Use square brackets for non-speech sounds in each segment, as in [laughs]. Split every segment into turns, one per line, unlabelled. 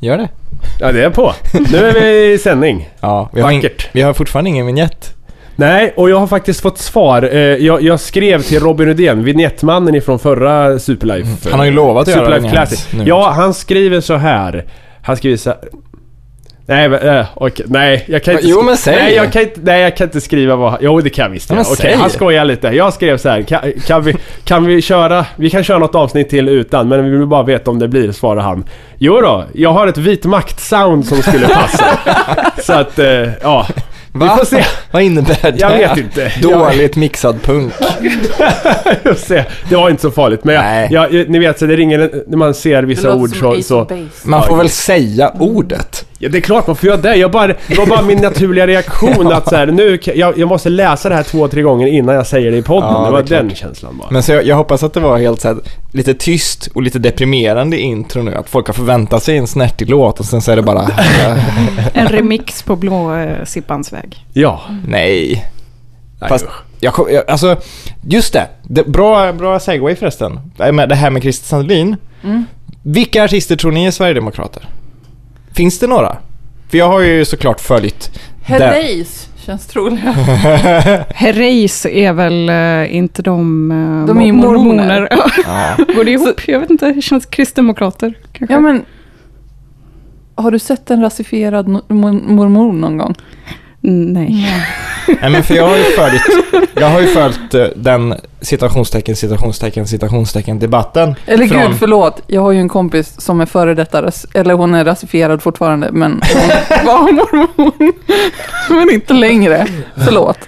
Gör det.
Ja, det är på. Nu är vi i sändning.
Ja, vi har, ing-
Vackert.
vi har fortfarande ingen vignett.
Nej, och jag har faktiskt fått svar. Eh, Jag, jag skrev till Robin Rydén, vignettmannen ifrån förra Superlife.
Han har ju lovat att göra
Superlife
vignett
Eh, Classic.
nu.
Ja, han skriver så här. Han skriver så här. Nej, men, eh, okej, nej, jag kan inte
Jo,
skri-
men säg.
Nej jag, kan inte, nej, jag kan inte skriva vad... Jo, det kan jag visst
Ja, men
göra. Okej,
säg.
han skojar lite. Jag skrev så här. Kan, kan, vi, kan vi köra... Vi kan köra något avsnitt till utan, men vi vill bara veta om det blir, svarar han. Jo då, jag har ett vit makt-sound som skulle passa.
[laughs]
så att, eh, ja.
Va?
Vi får se.
[laughs] Vad innebär det?
Jag vet inte.
Dåligt mixad punk.
Jag ser. Det var inte så farligt, men
Nej.
jag, jag, ni vet så det ringer en- när man ser
Det
vissa
låter
ord
som
så...
Ace
så
of Base.
Man får väl säga ordet.
ja, det är klart man får göra det. Jag bara, det var bara min naturliga reaktion att så här, nu, kan- jag, jag måste läsa det här två, tre gånger innan jag säger det i podden.
Ja,
det
det
var
är klart.
den känslan bara.
Men så jag, jag hoppas att det var helt så här, lite tyst och lite deprimerande intro nu. Att folk har förväntat sig en snärtig låt och sen så är det bara [laughs]
En remix på blå eh, Sippans väg.
Ja.
nej.
Nej,
Fast-
usch.
Jag, kom- jag, alltså, just det. det bra, bra segway förresten. Det här med- Det här med Christer Sandelin.
Mm.
Vilka artister tror ni är Sverigedemokrater? Finns det några? För jag har ju såklart följt den- [laughs]
Herreys känns troligare.
Herreys är väl eh, inte de... eh,
De är ju
mo- [laughs]
mormoner.
Går det ihop? Jag vet inte. Det känns kristdemokrater kanske.
Ja men... Har du sett en rasifierad no- mor- mormor någon gång?
Mm, Nej.
Nej men för jag har ju följt, jag har ju följt eh, den citationstecken, citationstecken, citationstecken debatten.
Eller
Från-
gud, förlåt. Jag har ju en kompis som är före detta, ras- eller hon är rasifierad fortfarande, men
[laughs]
hon var mormon. men inte längre. Förlåt.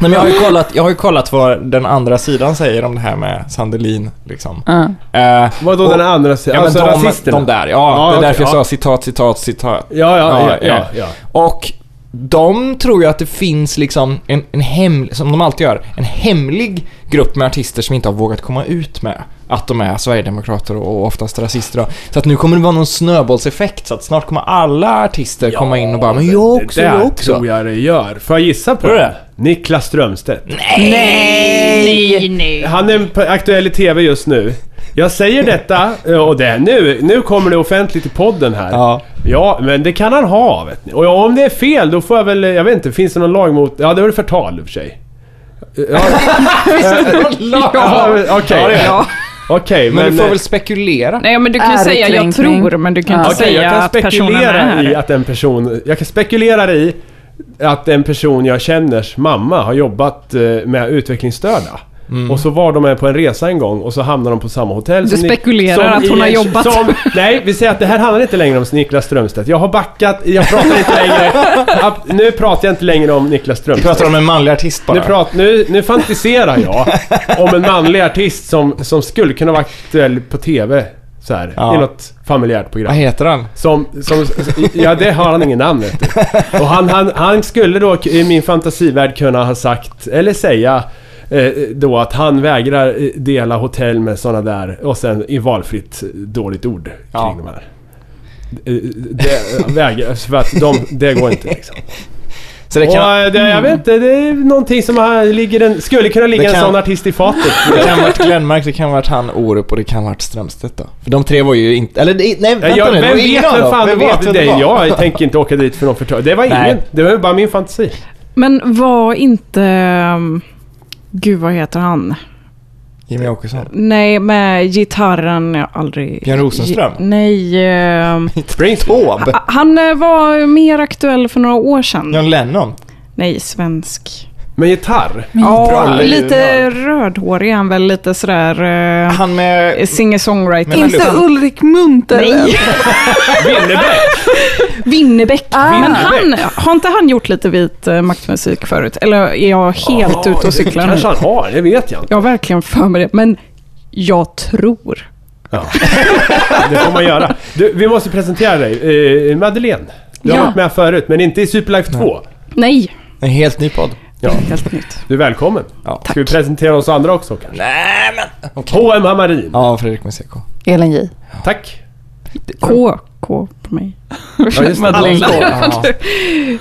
Nej men jag har ju kollat, jag har ju kollat vad den andra sidan säger om det här med Sandelin liksom.
Ja.
Eh,
Vadå
och-
den andra sidan?
Ja, men
alltså
de,
rasisterna?
de där, ja.
Ja,
det är
okej,
därför jag
ja.
sa citat, citat, citat.
Ja, ja, ja,
Ja,
ja, ja.
Och de tror ju att det finns liksom en, en hemlig, som de alltid gör, en hemlig grupp med artister som inte har vågat komma ut med att de är sverigedemokrater och och oftast rasister. då. Så att nu kommer det vara någon snöbollseffekt så att snart kommer alla artister komma in och bara “men jag också,
det där
jag också”.
tror jag det gör. Får jag gissa på
Tror du
det? Niklas Strömstedt.
Nej, nej.
Han är på aktuell i TV just nu. Jag säger
[laughs]
detta eh, och det nu, nu kommer det offentligt i podden här.
Ja.
Ja, men det kan han ha vet ni. Och om det är fel då får jag väl, jag vet inte, finns det någon lag mot... Ja, det var det förtal i och
[laughs]
för sig. Ja, ja, men okej.
Ja.
Okej,
Men,
men... eh,
du får väl spekulera.
Nej, men du kan ju säga jag
Ärekränkning.
tror, men du kan inte
Okej, jag
säga
kan
att personen är
spekulera i
här.
att en person... Jag kan spekulera i att en person jag känners mamma har jobbat eh, med utvecklingsstörda.
Mm.
Och så var de på en resa en gång och så hamnar de på samma hotell
Du
Ni-
spekulerar
som
att hon
i-
har jobbat.
Som, nej, vi säger att det här handlar inte längre om Niklas Strömstedt. Jag har backat, jag pratar inte längre... ab- Nu pratar jag inte längre om Niklas
Vi
Strömstedt.
pratar om en manlig artist bara.
Nu, prat, nu, nu fantiserar jag om en manlig artist som, som skulle kunna vara aktuell på TV. Så här,
Ja.
I något familjärt program.
Vad heter han?
Som, som, ja det har han ingen namn vet du. Och han, han, han skulle då i min fantasivärld kunna ha sagt, eller säga eh, då att han vägrar eh, dela hotell med såna där och sen i valfritt eh, dåligt ord kring
Ja.
de här. Eh, Det, vägrar, för att de, det går inte liksom.
Så det
Och,
kan,
eh, det, jag vet inte, det är någonting som har, ligger en, skulle kunna ligga
Det
en
kan-
sån artist i fatet.
det kan varit Glenmark, det kan varit han Orup och det kan varit Strömstedt då. För de tre var ju inte, eller det- nej [laughs] vänta
Ja, jag,
nu, det
vem
var ingen
vet
av
vem
dem.
fan det var?
vem
Det,
var?
jag tänker inte åka dit för någon förtal. Det var
Nej.
ingen, det var ju bara min fantasi.
Men var inte... ehm, Gud, vad heter han?
Jimmy Åkesson.
Nej, med gitarren. Jag har aldrig...
Björn Rosenström?
Gi- nej. ehm,
Ah,
Tåb?
han eh, var mer aktuell för några år sedan.
John Lennon?
Nej, svensk.
Med gitarr?
Ja,
Bra liv.
lite rödhårig är han väl. Lite sådär... Eh,
Han med...
Singer-songwriter.
Men
Inte
Luft.
Ulrik Munther?
Nej,
Winnerbäck?
Winnerbäck.
Ah.
Men han, har inte han gjort lite vit eh, maktmusik förut? Eller är jag [laughs] helt ute och cyklar
Det
nu?
kanske han har, det vet jag inte.
Jag har verkligen för mig det. Men jag tror.
Det får man göra. Du, vi måste presentera dig. Eh, Madeleine. Du har
Ja.
varit med förut, men inte i Superlife 2.
Nej.
En helt ny podd.
Ja.
Helt nytt.
Du är välkommen.
Ja.
Ska vi presentera oss andra också kanske?
Nej men... Okej.
H.M. Hammarin.
Ja, Fredrik med CK.
Elin J.
Tack.
K. K på mig.
just det.
Madeleine.
Ja.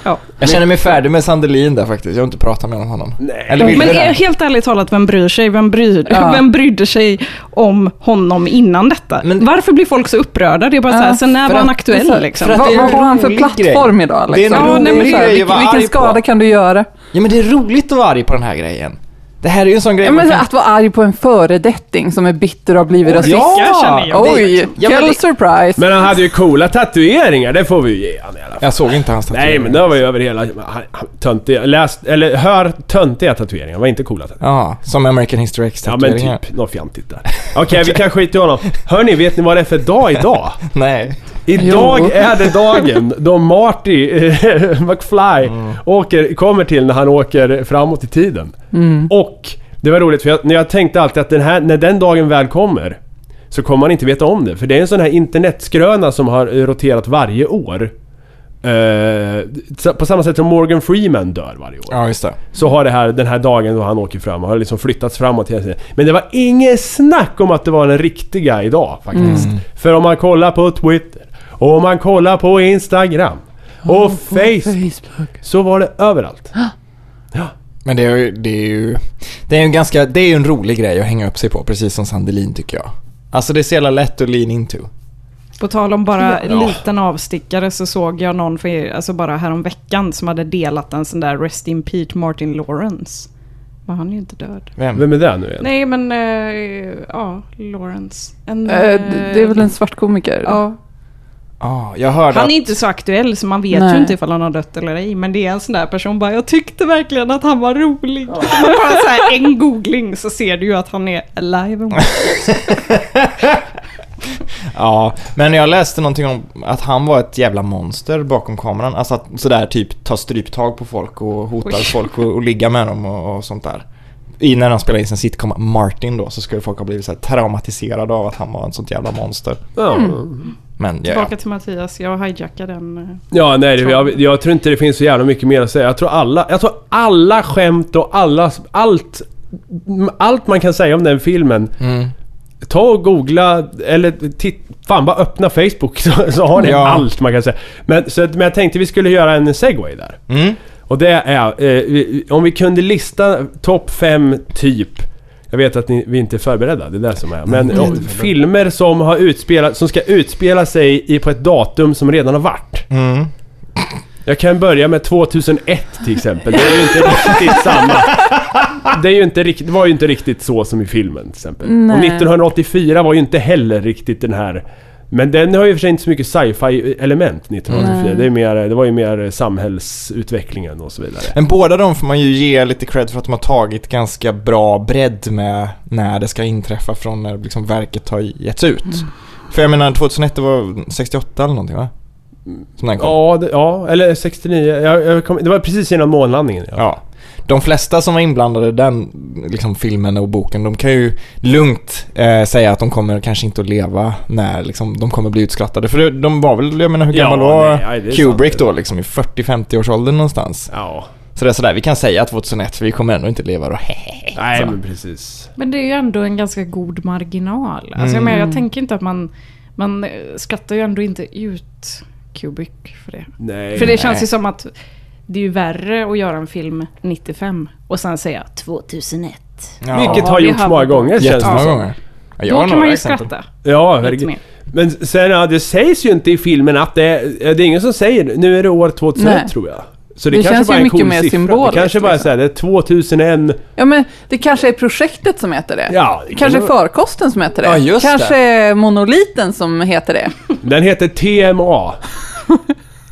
Ja.
Jag känner mig färdig med Sandelin där faktiskt. Jag har inte pratat med honom.
Nej.
Eller vill
Men
du det?
är, helt ärligt talat, vem bryr sig? Vem, bryr,
Ja.
[laughs] vem brydde sig om honom innan detta?
Men-
Varför blir folk så upprörda? Det är bara så här,
Ja,
sen när
för
var han
att-
aktuell
för att-
liksom?
för att-
Vad,
det är en
vad har han för
rolig
plattform
grej.
idag?
Det är en
Liksom?
rolig
men så
grej
här,
att
vilken,
vara arg
vilken
på.
skada kan du göra?
Ja men det är roligt att vara arg på den här grejen. Det här är ju en sån grej
Ja,
man
men så,
kan-
att vara arg på en föredetting som är bitter och har blivit rasist.
Ja!
känner jag.
Oj,
Ja, men
kill
det-
surprise.
Men han hade ju coola tatueringar, det får vi ju ge han i alla fall.
Jag såg inte hans
Nej men det var ju över hela... han- han- Töntiga, läs, eller hör töntiga tatueringar, var inte coola tatueringar.
Ja, som American History X
Ja men typ, något fjantigt där. Okej vi kan skita i honom. Hörni, vet ni vad det är för dag idag?
Nej.
Idag
Jo.
är det dagen då Marty eh, [laughs] McFly åker, kommer till när han åker framåt i tiden. Och det var roligt för jag, när jag tänkte alltid att den här, när den dagen väl kommer så kommer man inte veta om det. För det är en sån här internetskröna som har eh, roterat varje år. Eh, sa- på samma sätt som Morgan Freeman dör varje år.
Ja, just det.
Så har det här, den här dagen då han åker fram har liksom flyttats framåt hela tiden. Men det var inget snack om att det var den riktiga idag faktiskt. För om man kollar på Twitter och om man kollar på Instagram och Facebook
Facebook.
så var det överallt.
Men det är ju... Det är ju, det är ju en ganska... Det är ju en rolig grej att hänga upp sig på, precis som Sandelin tycker jag. Alltså det är så jävla lätt att lean into.
På tal om bara en
Ja.
liten avstickare så såg jag någon för, alltså bara häromveckan som hade delat en sån där Rest in Pete Martin Lawrence. Men han är ju inte död.
Vem?
Vem är det nu igen?
Nej men, eh, ja, Lawrence. En,
Eh, det det är väl en svart komiker?
Ja.
Ja, jag hörde
Han
att-
är inte så aktuell så man vet
Nej.
ju inte ifall han har dött eller ej. Men det är en sån där person bara, jag tyckte verkligen att han var rolig. Men [laughs] bara så här, en googling så ser du ju att han är alive. and well.
Ja, men jag läste någonting om att han var ett jävla monster bakom kameran. Alltså att sådär typ ta stryptag på folk och hotar
Oj.
folk och, och ligga med dem och, och sånt där. I när han spelade in sin sitcom Martin då så skulle folk ha blivit så här traumatiserade av att han var en sånt jävla monster.
Ja.
Men ja, ja.
Tillbaka till Mattias, jag hijackar den. eh.
Ja, nej, det- jag, jag tror inte det finns så jävla mycket mer att säga. Jag tror alla, jag tror alla skämt och alla, allt, allt man kan säga om den filmen.
Mm.
Ta och googla, eller titt, fan bara öppna Facebook [laughs] så, så har ni
Ja.
allt man kan säga. Men, så, att- men jag tänkte vi skulle göra en segway där.
Mm.
Och det är, eh, vi- om vi kunde lista topp 5 typ jag vet att ni, vi inte är förberedda, det är det som är. Men ja, filmer som, har utspelat, som ska utspela sig i, på ett datum som redan har varit.
Mm.
Jag kan börja med 2001 till exempel. Det är ju inte riktigt samma. Det, är ju inte riktigt, det var ju inte riktigt så som i filmen till exempel.
Nej.
Och 1984 var ju inte heller riktigt den här... Men den har ju i och för sig inte så mycket sci-fi element 1984.
Nej.
Det, är mer, det var ju mer samhällsutvecklingen och så vidare.
Men båda de får man ju ge lite cred för att de har tagit ganska bra bredd med när det ska inträffa från när liksom verket har getts ut.
Mm.
För jag menar 2001 det var 68 eller någonting va? Som den kom.
Ja, det, ja eller 69. Jag, jag kom, det var precis innan månlandningen. Ja.
Ja. De flesta som var inblandade i den liksom, filmen och boken, de kan ju lugnt eh, säga att de kommer kanske inte att leva när liksom, de kommer bli utskrattade. För det- de var väl, jag menar hur
Ja,
gammal
nej,
var
nej, det är
Kubrick
sant.
då liksom? I 40-50 års åldern någonstans.
ja.
Så det är sådär, vi kan säga 2001 för vi kommer ändå inte leva då. [laughs] Hehehe.
Nej,
Så.
men precis.
Men det är ju ändå en ganska god marginal. Alltså jag,
Mm.
menar, jag tänker inte att man, man eh, skrattar ju ändå inte ut Kubrick för det.
Nej.
För det känns
Nej.
ju som att det är ju värre att göra en film 95 och sen säga 2001.
Ja.
Vilket har
vi
gjorts
har-
många gånger känns
Jättemånga
Ja.
gånger. Ja, jag har
Då kan
några
man ju
exempel.
skratta
Ja,
lite
herregud.
mer.
Men sen, ja, det sägs ju inte i filmen att det är... Det är ingen som säger nu är det år 2001
Nej.
tror jag. Så det,
Det
kanske
känns
bara
ju
är en cool
mycket mer
siffra. Det
symboliskt,
kanske bara är
liksom.
såhär, det är 2001...
Ja, men det kanske är projektet som heter det.
Ja,
Kanske är förkosten som heter det.
Ja, just
kanske
det.
är monoliten som heter det.
Den heter TMA.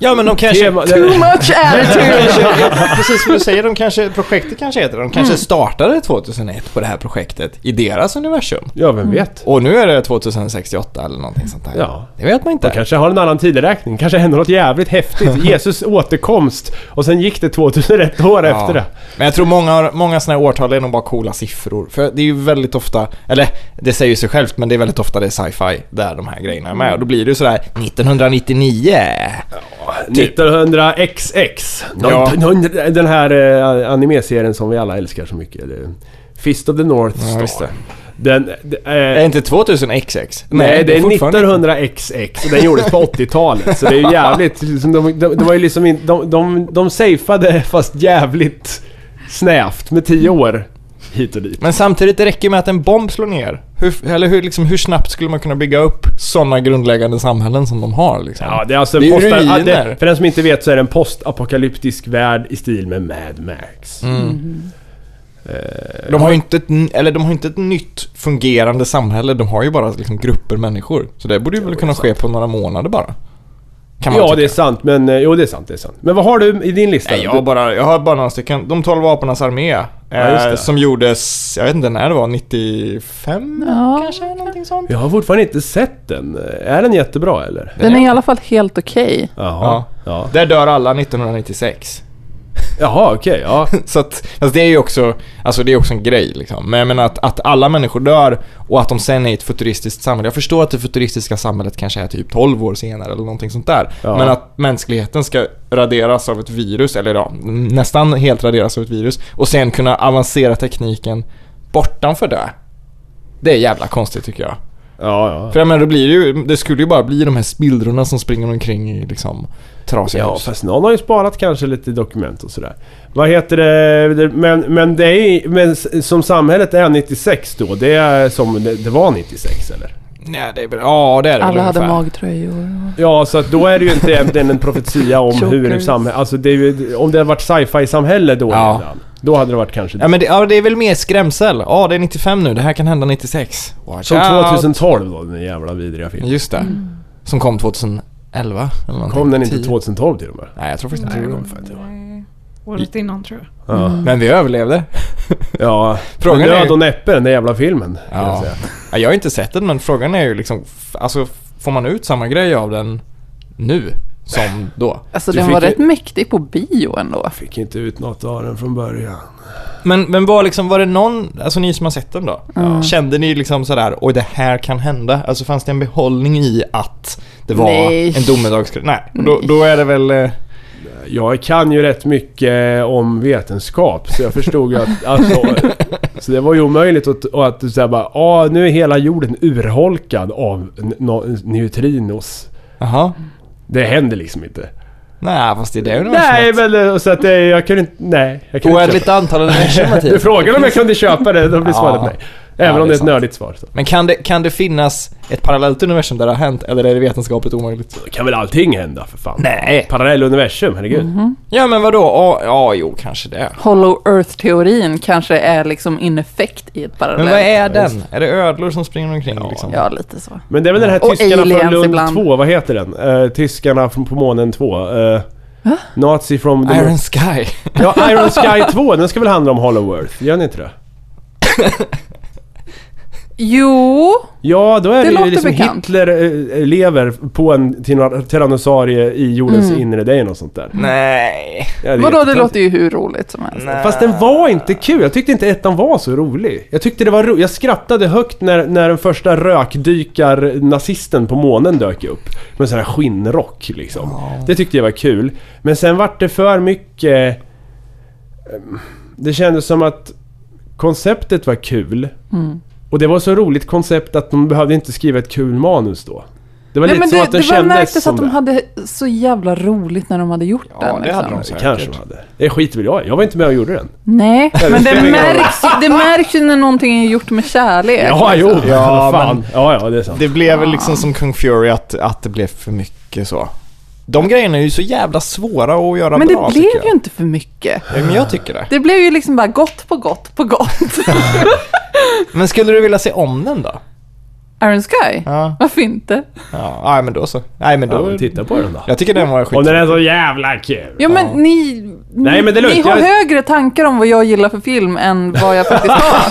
Ja men de kanske... [laughs]
TMA
Too
den,
much attitude!
Precis som du säger, de kanske, projektet kanske heter det. De
Mm.
kanske startade 2001 på det här projektet i deras universum.
ja, vem vet?
Och nu är det 2068 eller någonting sånt där.
Typ. Ja.
Det vet man inte.
De kanske har en annan tideräkning. Kanske hände något
[laughs]
jävligt häftigt. Jesus återkomst och sen gick det 2001 år
Ja.
efter det.
Men jag tror många, många sådana här årtal är nog bara coola siffror. För det är ju väldigt ofta, eller det säger ju sig självt, men det är väldigt ofta det är sci-fi där de här grejerna är med. Och då blir det ju sådär 1999.
1900XX.
typ. Ja.
Den här eh, animeserien som vi alla älskar så mycket. eller Fist of the North Star.
Ja, visst det.
Den, d- eh,
Är det inte 2000 XX?
Nej, det är
fortfarande-
1900XX och den gjordes
[laughs]
på 80-talet. Så det är ju jävligt... liksom, De, de, de var ju liksom in, de, de, de safeade fast jävligt snävt med 10 år hit och dit.
Men samtidigt, det räcker med att en bomb slår ner. Hur, eller hur, liksom, hur snabbt skulle man kunna bygga upp sådana grundläggande samhällen som de har? Liksom?
Ja, det är alltså
Det är
en
ju
post,
ruiner.
ja, det, För den som inte vet så är det en postapokalyptisk värld i stil med Mad Max.
Mm. De har ju inte ett, n- eller de har inte ett nytt fungerande samhälle, de har ju bara liksom grupper människor. Så det borde ju väl kunna ske på några månader bara. Kan man
ja,
tycka.
det är sant. Men... eh, Jo, det är sant. Det är sant. Men vad har du i din lista?
Nej, jag, har bara, jag har bara några stycken. De 12 apornas armé.
Ja, just
eh,
det.
som gjordes, jag vet inte när det var, 95
Ja.
kanske? Någonting sånt.
Jag har fortfarande inte sett den. Är den jättebra eller?
Den är i alla fall helt okej.
Jaha. Ja.
Där dör alla 1996.
Jaha, okej. ja.
[laughs] Så att, alltså det är ju också, alltså det är också en grej liksom. Men jag menar att, att alla människor dör och att de sen är i ett futuristiskt samhälle. Jag förstår att det futuristiska samhället kanske är typ 12 år senare eller någonting sånt där.
Ja.
Men att mänskligheten ska raderas av ett virus, eller ja, nästan helt raderas av ett virus och sen kunna avancera tekniken bortanför det. Det är jävla konstigt tycker jag.
Ja,
[laughs]
ja.
För jag menar, då blir det ju, det skulle ju bara bli de här spillrorna som springer omkring i liksom trasiga
Ja,
hus.
fast någon har ju sparat kanske lite dokument och sådär. Vad heter det? det- Men, men det är men s- som samhället är 96 då. Det är som det, det var 96 eller?
Nej, det är väl, ja det är det väl
Alla hade
ungefär.
magtröjor.
Ja, så att då är det ju inte egentligen en profetia om hur
Chokers.
samhället... Alltså det är ju, om det hade varit sci-fi samhälle då
Ja.
redan. Då hade det varit kanske
Ja men det, ja, det är väl mer skrämsel. Ja, det är 95 nu. Det här kan hända 96. Watch
Som
out.
2012 då, den jävla vidriga filmen.
Just det. Som kom 2011 eller någonting.
Kom den inte
10?
2012 till och med?
Nej, jag tror faktiskt inte det kom.
Nej. Året innan tror jag.
Ja.
Men vi överlevde.
ja.
Frågan
Frågan
är-
Död och näppe den där jävla filmen. Kan jag
Ja.
säga.
Ja, Jag har inte sett den, men frågan är ju liksom... f- Alltså, f- får man ut samma grej av den nu som då?
Alltså
Du
den
fick
var
ju-
rätt mäktig på bio ändå.
Fick inte ut något av den från början.
Men, men var liksom, var det någon, alltså ni som har sett den då? Kände ni liksom sådär, oj det här kan hända? Alltså fanns det en behållning i att det var
Nej.
en domedagskris? Nej, och då, då är det väl... eh,
Jag kan ju rätt mycket om vetenskap så jag förstod ju att... Alltså, så det var ju omöjligt att, och att du säger bara ah, nu är hela jorden urholkad av n- nå- neutrinos.
Jaha?
Det händer liksom inte. nej
Nej, fast det är det universumet.
Nej men eh, så att det, jag kunde inte... Nej. Jag kunde inte
Oändligt
köpa
antal universum [laughs]
det. Du
Mattias.
frågade om jag kunde köpa det, då blir
Ja.
svaret nej. Även
Ja, det
om
är
det är ett
sant.
nördigt svar. Så.
Men kan det, kan det finnas ett parallellt universum där det har hänt eller är det vetenskapligt omöjligt?
Då kan väl allting hända för fan?
Nej.
Parallelluniversum, herregud.
Ja men vadå? Ja, ja jo kanske det.
Hollow Earth-teorin kanske är liksom in effekt i ett
Men
parallellt.
vad är den? Är det ödlor som springer omkring liksom?
Ja, lite så.
Men det är väl den här
Och
tyskarna från
aliens
Lund
ibland.
2, vad heter den? Eh, tyskarna från, på månen 2. eh, Nazi from the...
Iron Sky.
Ja, Iron Sky 2, den ska väl handla om Hollow Earth? Gör ni inte det?
Jo,
Ja, då är
Det
det, ju
låter
liksom
bekant.
Hitler eh, lever på en tyrann- tyrannosaurie i jordens inre, det är ju något sånt där.
Nej.
Ja, är
vadå det
jättetöntigt.
låter ju hur roligt som helst.
Fast den var inte kul, jag tyckte inte ettan var så rolig. Jag tyckte det var ro- jag skrattade högt när, när den första rökdykar-nazisten på månen dök upp. Med sån här skinnrock liksom. Det tyckte jag var kul. Men sen vart det för mycket... ehm, Det kändes som att konceptet var kul.
Mm.
Och det var så roligt koncept att de behövde inte skriva ett kul manus då. Det var
Nej,
lite
men
som
det,
att den
det var
kändes
märktes
som
att de
det.
hade så jävla roligt när de hade gjort
Ja,
den. liksom.
det hade de
Det
säkert.
kanske de hade. Det skiter väl jag i. Jag var inte med och gjorde den.
Nej, men
spelar
det
ingen roll.
märks, det märks ju när någonting är gjort med kärlek. liksom.
Ja, jo. [laughs]
Ja,
Ja, fan.
men-
ja, ja, det är sant.
Det blev väl liksom som Kung Fury att, att det blev för mycket så. De grejerna är ju så jävla svåra att göra
Men
bra
det
tycker
blev
jag.
ju inte för mycket.
Ja, Men jag tycker det.
Det blev ju liksom bara gott på gott på gott.
[laughs]
Men skulle du vilja se om den då?
Iron Sky?
Ja.
Varför inte?
Ja, nej, men då så. Nej men
Ja,
då. typ-
men titta på den då.
jag tycker den var skit.
Om den är så jävla kul.
Ja, men ni, ni,
Nej, men det är lugnt.
ni har
Jag-
högre tankar om vad jag gillar för film än vad jag
[laughs]
faktiskt har.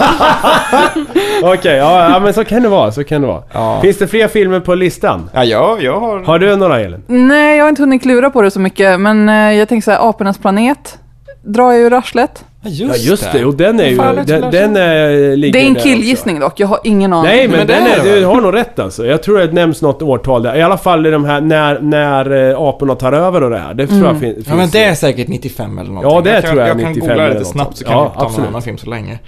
Okej, ja, ja men så kan det vara. Så kan det vara.
Ja.
Finns det fler filmer på listan?
Ja, jag, jag har...
Har du några Elin?
Nej, jag har inte hunnit klura på det så mycket, men eh, jag tänker så här, Apornas planet drar jag ur arslet.
Ja just det, och den är ju...
Fan, det
Den,
skulle
den är, ligger
Det är en
där också.
killgissning dock, jag har ingen aning.
Nej men,
Men det
den
är
är,
det
du
väl?
har nog rätt alltså. Jag tror det nämns något årtal där. I alla fall i de här när, när eh, aporna tar över och det här. Det tror
Mm.
jag fin, finns.
Ja men det är säkert 95 eller någonting.
Ja, det
jag kan,
tror jag
jag
95
kan googla
eller
lite
något
snabbt
sånt.
så kan
Ja,
vi ta någon
absolut.
annan film så länge.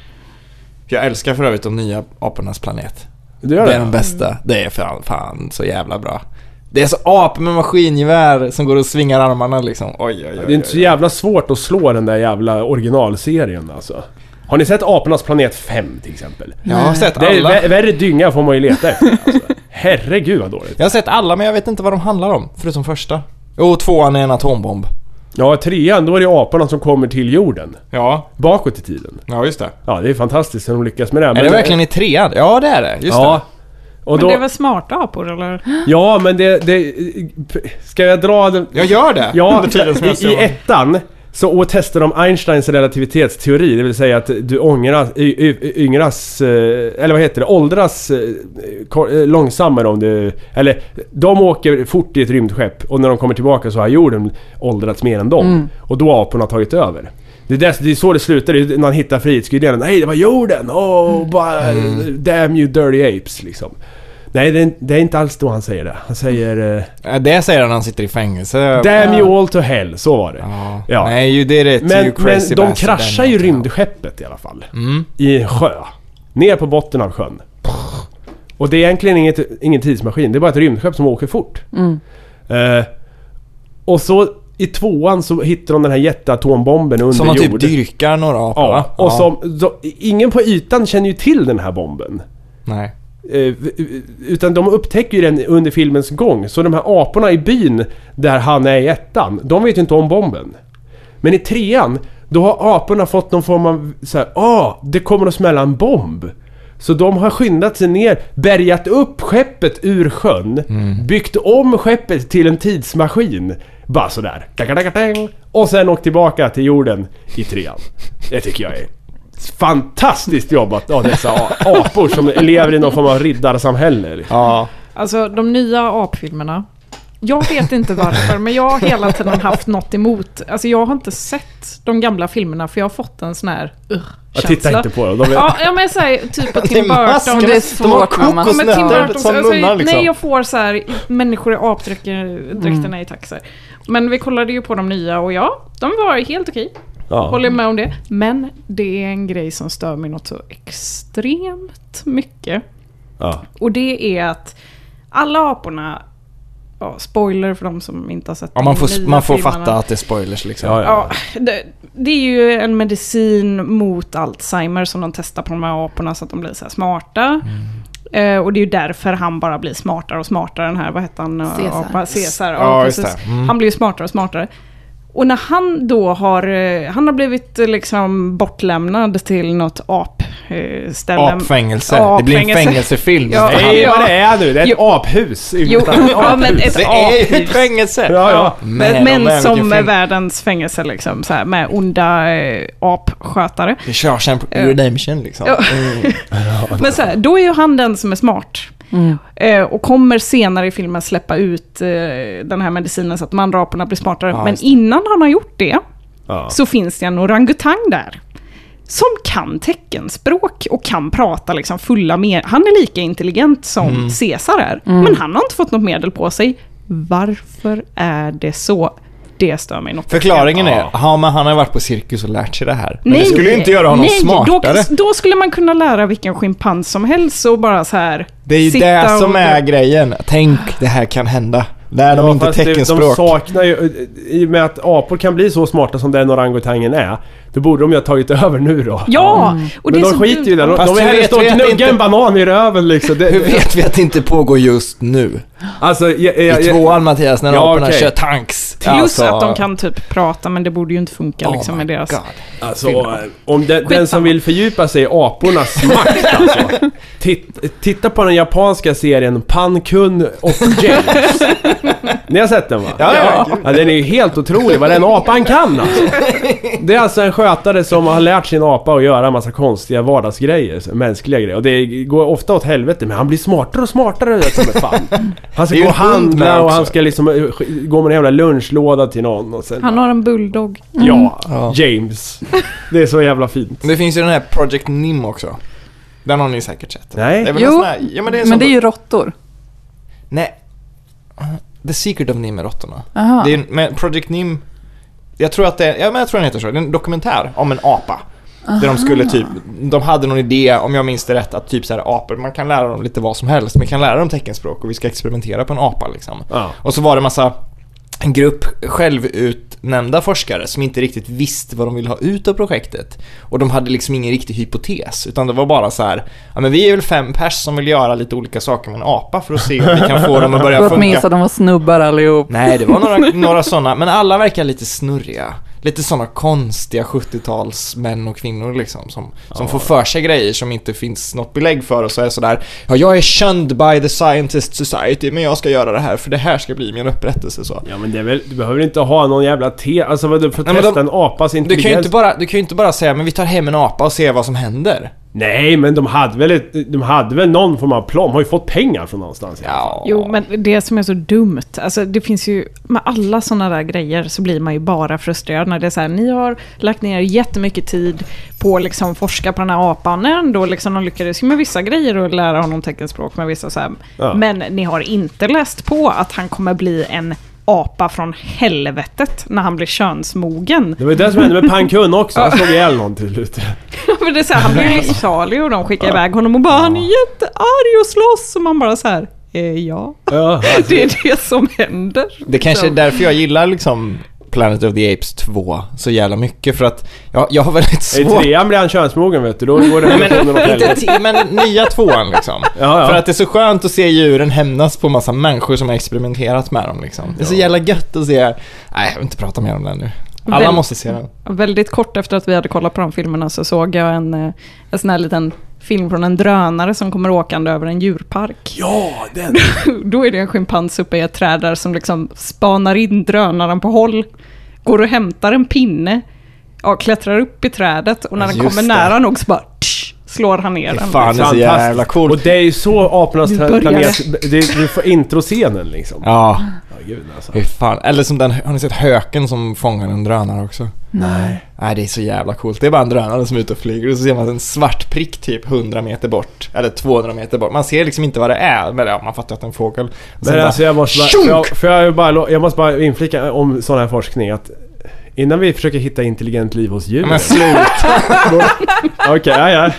Jag älskar för övrigt de nya apornas planet.
Du
Det
gör
är de
det?
bästa. Det är fan, fan så jävla bra. Det är så apor med maskingevär som går och svingar armarna liksom. Oj, oj, oj.
Det är inte så
oj.
jävla svårt att slå den där jävla originalserien alltså. Har ni sett Apornas planet 5 till exempel?
Jag har sett
Det är
alla.
vä- värre dynga får man ju leta efter
[laughs]
alltså. Herregud vad dåligt.
Jag har sett alla men jag vet inte vad de handlar om. Förutom första. Jo, tvåan är en atombomb.
Ja, trean, då är det aporna som kommer till jorden.
Ja,
Bakåt i tiden.
ja just det.
Ja, det är fantastiskt hur de lyckas med det.
är det verkligen i trean? Ja, det är det. Just
ja. Och
Men
då,
det är väl smarta apor eller?
Ja, men det, det... Ska jag dra den...
det. Jag gör det.
Ja,
under tiden som jag
i, i
ser.
ettan så testar de Einsteins relativitetsteori, det vill säga att du ångras, y, y, yngras, eh, eller vad heter det, åldras eh, kor- eh, långsammare om du... Eller de åker fort i ett rymdskepp och när de kommer tillbaka så har jorden åldrats mer än dem.
Mm.
Och då har aporna tagit över. Det är, dess, det är så det slutar, det är när han hittar frihetsgudinnen. Nej, det var jorden!
Mm.
Oh, bara, Damn you dirty apes liksom. Nej, det är, det är inte alls då han säger det. Han säger... Eh,
Ja, Det säger han när han sitter i fängelse.
Damn you all to hell, så var det.
Ja.
Ja.
Nej, ju det är rätt.
Men,
you
men
crazy
de
bastard, Mm.
kraschar
den
ju
låten, ja.
rymdskeppet i alla fall. I en sjö. Ner på botten av sjön. Och det är egentligen inget, ingen tidsmaskin. Det är bara ett rymdskepp som åker fort. Eh, och så i tvåan så hittar de den här jätteatombomben under
Som man
jord.
typ dyrkar några apor va?
ja, och som... Så, ingen på ytan känner ju till den här bomben.
Nej.
Eh, utan de upptäcker ju den under filmens gång. Så de här aporna i byn där han är i ettan, de vet ju inte om bomben. Men i trean, då har aporna fått någon form av så här, ah, det kommer att smälla en bomb. Så de har skyndat sig ner, bärgat upp skeppet ur sjön, byggt om skeppet till en tidsmaskin. Bara sådär. Takatakatäng. Och sen åkt tillbaka till jorden i trean. Det tycker jag är fantastiskt jobbat av dessa a- apor som lever i någon form av riddarsamhälle. liksom.
Ja.
Alltså de nya apfilmerna. Jag vet inte varför, men jag har hela tiden haft något emot. Alltså jag har inte sett de gamla filmerna för jag har fått en sån här
Jag
uh,
tittar inte på dem. De är,
Ja, ja men säger typ på Tim
masken.
Burton.
Det är
De har
svårt, mamma.
Ja, men Tim
kokosnötter
Burton,
som
alltså,
munnar liksom.
Nej, jag får så här människor i apdräkterna i taxar. Men vi kollade ju på de nya och ja, de var helt okej.
ja.
Håller med om det. Men det är en grej som stör mig något så extremt mycket.
Ja.
Och det är att alla aporna, ja, spoiler för de som inte har sett
Ja, man
de
får,
nya
man får
filmerna.
fatta att det är spoilers liksom.
Ja,
Ja, det, det är ju en medicin mot Alzheimer som de testar på de här aporna så att de blir så här smarta.
Mm.
Eh, och det är ju därför han bara blir smartare och smartare. Den här, vad hette han? eh,
Caesar.
Apa? Caesar. Ja,
Ja, just
precis.
det. Mm.
Han blir ju smartare och smartare. Och när han då har, eh, han har blivit eh, liksom bortlämnad till något apställe.
Apfängelse. Det blir en
Apfängelse.
fängelsefilm.
[laughs] Ja.
Nej,
Ja.
vad det är nu. Det är ett
Jo.
aphus.
Jo,
utan-
ja, men ett
Det är
aphus.
ju ett fängelse!
Ja, ja.
Men,
oh man,
men som
vilken
är
film.
världens fängelse liksom, så här, med onda eh, apskötare.
Det är Shawshank Redemption liksom.
Ja. Men så här, då är ju han den som är smart. Eh, och kommer senare i filmen släppa ut eh, den här medicinen så att man aporna blir smartare.
Ja,
Men
just det.
innan han har gjort det
Ja.
så finns det en orangutang där. Som kan teckenspråk och kan prata liksom fulla med... Han är lika intelligent som
Mm.
Caesar är. Men han har inte fått något medel på sig. Varför är det så? Det stör mig något.
Förklaringen är, ja men han har varit på cirkus och lärt sig det här. Men
Nej,
det skulle ju inte göra honom
nej,
smartare.
Då, då skulle man kunna lära vilken schimpans som helst och bara så här...
Det är ju
sitta
det
och-
som är grejen. Tänk, det här kan hända. Lär dem
Ja,
inte
fast det- De
teckenspråk.
saknar ju... I och med att apor kan bli så smarta som den orangutangen är, då borde de ju ha tagit [laughs] över nu då.
Ja!
Mm.
Och
Men
det
de
är så
skiter ju i det. De,
Fast
de vill
hur
hellre
vet
stå och
vi att
gnugga
inte-
en banan i röven liksom. Det,
Hur vet vi att det inte pågår just nu?
Alltså, jag, jag,
I
jag,
tvåan Mattias, när
Ja,
aporna
okej. Alltså-
kör tanks.
Plus att de kan typ prata, men det borde ju inte funka
Alltså- Oh
liksom med
my
deras...
God.
alltså eh, om den- den som vill fördjupa sig i apornas makt alltså. Titt, titta på den japanska serien Pankun och James. Ni har sett den va?
Ja, ja, gud.
den är ju helt otrolig vad den apan kan alltså. Det är alltså en skötare som har lärt sin apa att göra en massa konstiga vardagsgrejer, så- mänskliga grejer. Och det går ofta åt helvete men han blir smartare och smartare vet du, som ett fan. Han ska
Det är ju
gå och
en hund med
handla och
också.
han ska liksom eh, sk- gå med en jävla lunchlåda till någon och sen...
Han har en bulldog.
Ja,
Mm.
Ja.
James. Det är så jävla fint.
Men Det finns ju den här Project Nim också. Den har ni säkert sett.
Nej.
Det är väl en
Jo,
sån här, ja, men det är, en sån-
men det är ju råttor.
Nej. The Secret of Nim är råttorna.
Aha.
Det är, en- men Project Nim, jag tror att det är, ja, men jag tror den heter så. Det är en dokumentär om en apa. Där de skulle typ, de hade någon idé, om jag minns det rätt, att typ så här apor, man kan lära dem lite vad som helst. Man kan lära dem teckenspråk och vi ska experimentera på en apa liksom.
Ja.
Och så var det massa en grupp självutnämnda forskare som inte riktigt visste vad de ville ha ut av projektet. Och de hade liksom ingen riktig hypotes, utan det var bara så här, ja men vi är väl fem pers som vill göra lite olika saker med en apa för att se om vi kan få dem att börja
Låt mig
funka.
gissa, de var snubbar allihop.
Nej, det var några, några sådana, men alla verkar lite snurriga. Lite sådana konstiga 70-tals män och kvinnor liksom som, som får för sig grejer som inte finns något belägg för och så är sådär Ja, jag är känd by the scientist society men jag ska göra det här för det här ska bli min upprättelse så.
Ja men det är väl, du behöver inte ha någon jävla te... Alltså vadå, för
Nej, men
att
de-
testa en apas
Du kan, ju inte
intelligens?
bara, du kan ju inte bara säga men vi tar hem en apa och ser vad som händer.
Nej men de hade väl ett, de hade väl någon form av plan, de har ju fått pengar från någonstans.
Ja.
Jo, men det som är så dumt, alltså det finns ju, med alla sådana där grejer så blir man ju bara frustrerad när det är så här, ni har lagt ner jättemycket tid på att liksom forska på den här apan, ändå liksom de lyckades ju med vissa grejer och lära honom teckenspråk med vissa så här,
Ja.
men ni har inte läst på att han kommer bli en apa från helvetet när han blir könsmogen.
Det var ju det som
[laughs]
hände med Pankun också, han slog ihjäl någon till slut.
[laughs] För det är så här, han blir ju livsfarlig och de skickar iväg honom och bara han är jättearg och slåss och man bara så här, eh, ja.
Ja,
[laughs] Det är det som händer.
Det kanske är
liksom.
därför jag gillar liksom Planet of the Apes 2 så jävla mycket för att jag, jag har väldigt
I
svårt
trean blir han könsmogen vet du, då
Nej,
går relationen åt
men, inte
helvete.
till, men nya tvåan liksom.
Ja, ja.
För att det är så skönt att se djuren hämnas på massa människor som har experimenterat med dem liksom. Det är så jävla gött att se. Nej, jag vill inte prata mer om den nu. Alla
Väl-
måste se den.
Väldigt kort efter att vi hade kollat på de filmerna så såg jag en, eh, en sån här liten film från en drönare som kommer åkande över en djurpark. [laughs]
Ja, den!
Då är det en schimpans uppe i ett träd där som liksom spanar in drönaren på håll, går och hämtar en pinne, ja, klättrar upp i trädet och när den
Alltså, Just
kommer
det.
nära nog så bara tsch, slår han ner den.
Fan, det är så
Fantastiskt.
jävla
Och
cool.
det är ju så apornas
Nu börjar
tra- planet... Det, du får introscenen liksom.
Ja,
Ja, gud alltså.
hur fan. Eller som den, har ni sett höken som fångar en drönare också?
Nej.
Nej, det är så jävla coolt. Det är bara en drönare som är ute och flyger och så ser man en svart prick typ 100 meter bort. Eller 200 meter bort. Man ser liksom inte vad det är. Men ja, man fattar att det är en fågel. Sen
Men
bara-
alltså jag måste bara...
Tjunk!
För jag, för jag, vill bara, lo- jag måste bara inflika om sån här forskning att innan vi försöker hitta intelligent liv hos djur.
Men sluta.
[laughs] Okej, ja, ja.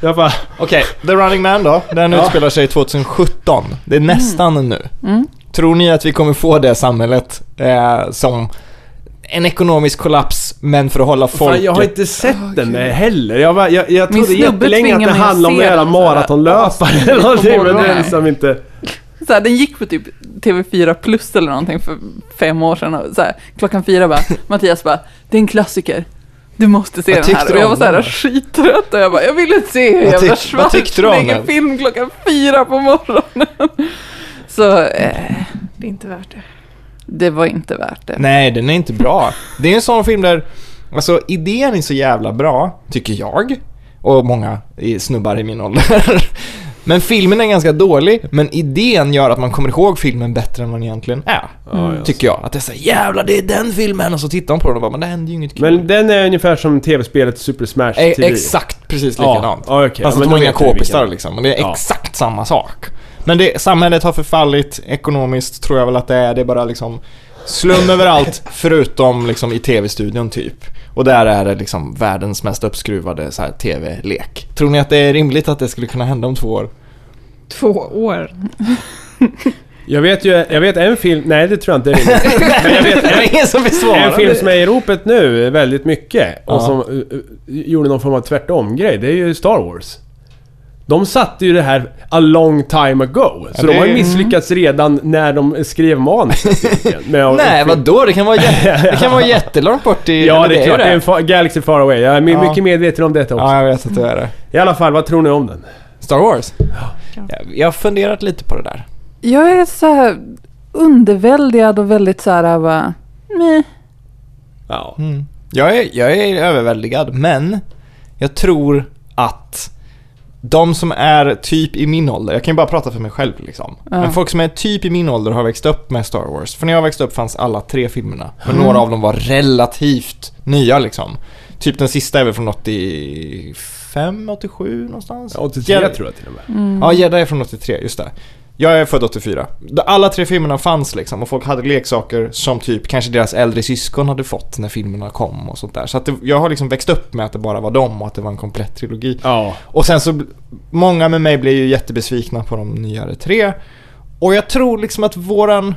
Jag bara...
Okej, The Running Man då. Den
Ja. Mm.
utspelar sig 2017. Det är nästan nu. Tror ni att vi kommer få det samhället eh, som en ekonomisk kollaps, men för att hålla folket...
Fan, jag har inte
Ah,
sett den heller. Jag, bara, jag, jag
Min
trodde
snubbe
jättelänge att
tvingar
det
mig att
handlade om
se
några
den så här.
maratonlöpare
[laughs]
eller någonting. Men det är
morgonen. Mm.
liksom inte...
Så här, den gick på typ TV4 plus eller någonting för fem år sedan. Och så här, klockan fyra bara, [laughs] Mattias bara, det är en klassiker. Du måste se
Vad
den
tyckte
här.
du
Och jag
om
var så här
den då?
skittrött och jag bara, jag ville se hur
Vad
jävla
tyck- vad tyckte du om den?
film klockan fyra på morgonen. [laughs] Så eh,
Det är inte värt det.
det var inte värt det.
Nej, den är inte bra. Det är en sån film där, alltså idén är så jävla bra, tycker jag. Och många i- snubbar i min ålder. [laughs] Men filmen är ganska dålig, men idén gör att man kommer ihåg filmen bättre än vad den egentligen är.
Ja, ja.
Tycker jag. Att det är så här, jävlar det är den filmen! Och så tittar man på den och bara, men det händer ju inget kul.
Men den är ungefär som tv-spelet Super Smash
E-
TV.
exakt precis likadant.
Ja, ja, okej.
Fast
Ja,
att
men
de
då
är inga
vet jag vilken.
k-pistar liksom. Men det är
Ja.
exakt samma sak. Men det, samhället har förfallit ekonomiskt tror jag väl att det är. Det är bara liksom slum
[laughs]
överallt förutom liksom i tv-studion typ. Och där är det liksom världens mest uppskruvade så här, tv-lek. Tror ni att det är rimligt att det skulle kunna hända om
[laughs]
två år?
Två år.
Jag vet ju, jag vet en film, nej det tror jag inte är rimligt.
Men jag vet, det är ingen som
En film
besvarar.
som är i ropet nu väldigt mycket och
Ja.
som eh, eh, gjorde någon form av tvärtom-grej, det är ju Star Wars. De satte ju det här a long time ago.
Ja,
Så de har ju
det Mm. är-
misslyckats redan när de
[laughs]
skrev manuset egentligen. Men jag-
Nej, vadå? Det kan vara,
[laughs]
jä- det kan vara jättelångt bort i...
Ja,
eller
det är klart. Det är en
ju
fa- Galaxy Far Away. Jag är my-
Ja.
mycket medveten om detta också.
Ja, Mm. jag vet att det är det.
I alla fall, vad tror ni om den?
Star Wars?
Ja.
Ja, Jag har funderat lite på det där.
Jag är så här underväldigad och väldigt så här bara, meh.
Ja.
Mm. Jag, är, jag är överväldigad, men jag tror att de som är typ i min ålder, jag kan ju bara prata för mig själv liksom.
Ja.
Men folk som är typ i min ålder har växt upp med Star Wars. För när jag växte upp fanns alla tre filmerna. Men några av dem var relativt nya liksom. Typ den sista är väl från 85, 87 någonstans?
83 tror jag till och med.
Mm. Ja, Gädda är från 83, just det. Jag är född 84. Alla tre filmerna fanns liksom och folk hade leksaker som typ kanske deras äldre syskon hade fått när filmerna kom och sånt där. Så att det, jag har liksom växt upp med att det bara var dem och att det var en komplett trilogi.
Ja.
Och sen så, många med mig blev ju jättebesvikna på de nyare tre. Och jag tror liksom att våran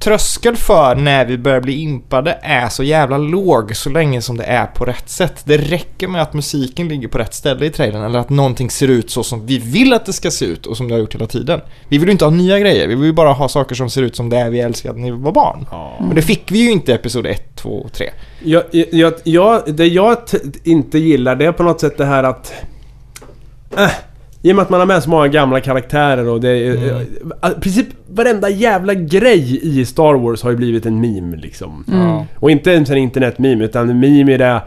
tröskel för när vi börjar bli impade är så jävla låg så länge som det är på rätt sätt. Det räcker med att musiken ligger på rätt ställe i trailern eller att någonting ser ut så som vi vill att det ska se ut och som det har gjort hela tiden. Vi vill ju inte ha nya grejer, vi vill ju bara ha saker som ser ut som det är vi älskade när vi var barn.
ja.
Men det fick vi ju inte i Episod 1, 2 och 3.
Jag, jag, jag, det jag t- inte gillar det är på något sätt det här att... Äh, I och med att man har med så många gamla karaktärer och det är...
Mm.
eh, I princip varenda jävla grej i Star Wars har ju blivit en meme liksom.
Ja.
Och inte ens en internetmeme utan en meme i det... eh,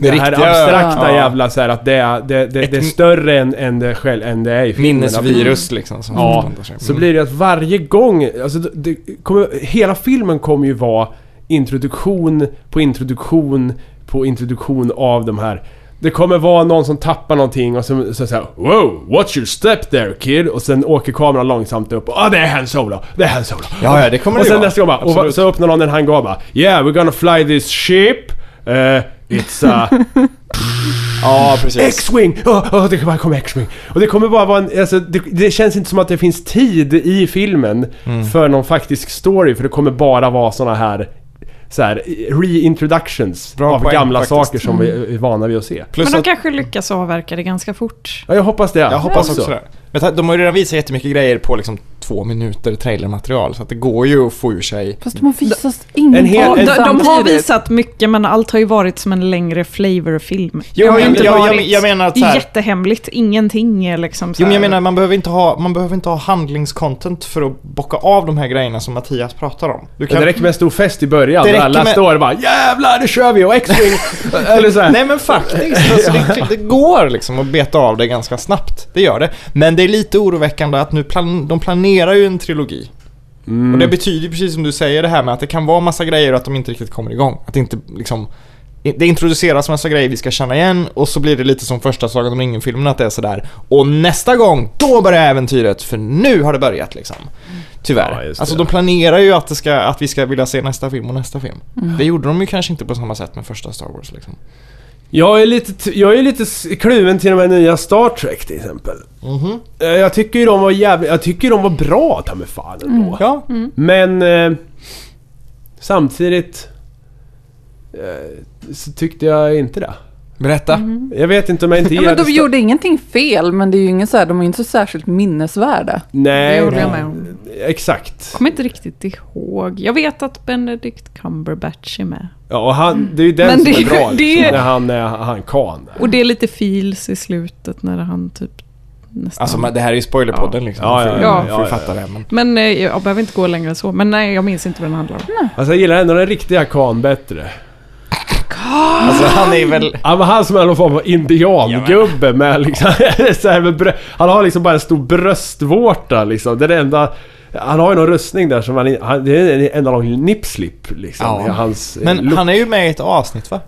Det, här
riktiga-
abstrakta
ja.
jävla så här att det är, det, det, det är
Ett-
större än, än, det själv, än det är i filmerna.
Minnesvirus liksom som
Ja,
förplantar sig.
Så
Mm.
blir det att varje gång, alltså det, det kommer, hela filmen kommer ju vara introduktion på introduktion på introduktion av de här. Det kommer vara någon som tappar någonting och så, så säger Wow, watch your step there kid! Och sen åker kameran långsamt upp och ah, det är Han Solo, det är Han Solo.
Ja, ja, det kommer
och
det
sen
vara.
nästa gång bara, och
Absolut.
så öppnar någon en hangar och bara Yeah, we're gonna fly this ship. Eh, it's uh, a...
Ja, precis.
X-Wing! Åh, åh, det bara kommer X-Wing. Och det kommer bara vara en... Alltså, det, det känns inte som att det finns tid i filmen
Mm.
för någon faktisk story. För det kommer bara vara såna här... Så här reintroductions
Bra
av
poäng,
gamla
faktiskt. Mm.
saker som vi är vana vid att se.
Plus
Men de
att-
kanske lyckas avverka det ganska fort.
Ja, jag hoppas det. Alltså.
Jag hoppas också det. Men ta- de har ju redan visat jättemycket grejer på liksom två minuter trailermaterial så att det går ju att få ur sig.
Fast de har visat inget
en hel-
Ja,
av
de,
det
de har
samtidigt.
visat mycket men allt har ju varit som en längre flavorfilm.
Jo,
Det har ju
men-
inte
jag- jag-
varit-
jag menar att
Det
så
är
här-
jättehemligt, ingenting är liksom så
Jo men jag
här-
menar man behöver inte ha, man behöver inte ha handlingscontent för att bocka av de här grejerna som Mattias pratar om. Du
Det räcker med en stor fest i början
Det
där
räcker
alla
med-
står och bara Jävlar, nu kör vi!
[laughs]
Och X-Wing! Eller så här.
Nej men
[laughs]
faktiskt, alltså, det, det går liksom att beta av det ganska snabbt. Det gör det. Men det är lite oroväckande att nu plan, de planerar ju en trilogi.
Mm.
Och det betyder precis som du säger det här med att det kan vara massa grejer och att de inte riktigt kommer igång. Att det inte liksom det introduceras massa grejer vi ska känna igen och så blir det lite som första Sagan om ringen-filmen att det är sådär Och nästa gång, då börjar äventyret för nu har det börjat liksom.
Ja,
Tyvärr.
just det.
alltså de planerar ju att, det ska, att vi ska vilja se nästa film och nästa film. Det gjorde de ju kanske inte på samma sätt med första Star Wars liksom.
Jag är lite, t- jag är lite s- kluven till de här nya Star Trek till exempel.
Mhm.
Eh, Jag tycker ju de var jävligt, jag tycker de var bra ta mig fan ändå.
Ja.
Mm.
Men eh, samtidigt eh, så tyckte jag inte det.
Berätta.
Jag vet inte om jag inte
Ja,
gillade
men de
Star-
gjorde ingenting fel, men det är ju inget så här, de är ju inte så särskilt minnesvärda.
Det
Nej,
gjorde jag
nej.
med om.
exakt.
Kommer inte riktigt ihåg. Jag vet att Benedict Cumberbatch är med.
Ja, och han, det är ju den
Men
som
det är
är
ju-
bra
det
liksom,
är-
när han är han kan.
Och det är lite feels i slutet när han typ nästan...
Alltså men det här är ju spoilerpodden liksom.
Ja, ja,
Får-
ja,
får
ja,
ju fatta det men.
men eh, jag behöver inte gå längre än så. Men nej, jag minns inte vad den handlar om.
Alltså jag gillar ändå den riktiga Khan bättre.
Alltså han är väl...
Han var han som är någon form av indiangubbe med liksom, [laughs] så här med brö- Han har liksom bara en stor bröstvårta liksom. Det är det enda... Han har ju någon rustning där som han, han Det är en enda lång nipslip liksom.
Ja.
i Hans eh,
Men
look.
han är ju med i ett avsnitt va?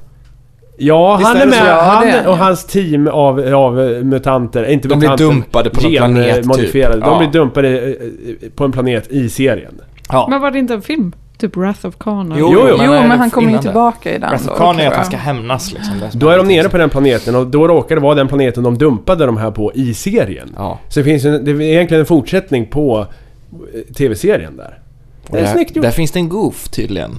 Ja,
Visst
han
är
är
det
med.
så?
Ja,
han
det är han,
och
ja.
hans team av, av eh, mutanter. Inte
De blir
mutanter,
dumpade på någon planet, typ.
genmodifierade. De
Ja.
blir dumpade eh, eh, på en planet i serien.
Ja.
Men var det inte en film? Typ Wrath of Khan? eller?
Jo, jo,
Jo,
men,
Jo,
är
men
det
han kommer ju
innan det?
tillbaka i den.
Alltså,
då,
Khan är
tror
att han
jag.
ska hämnas liksom. Det
Då är de nere på den planeten och då råkar det vara den planeten de dumpade de här på i serien.
Ja.
Så det finns ju en, det är egentligen en fortsättning på eh, tv-serien där. Det är
där,
snyggt gjort.
Där finns det en goof tydligen.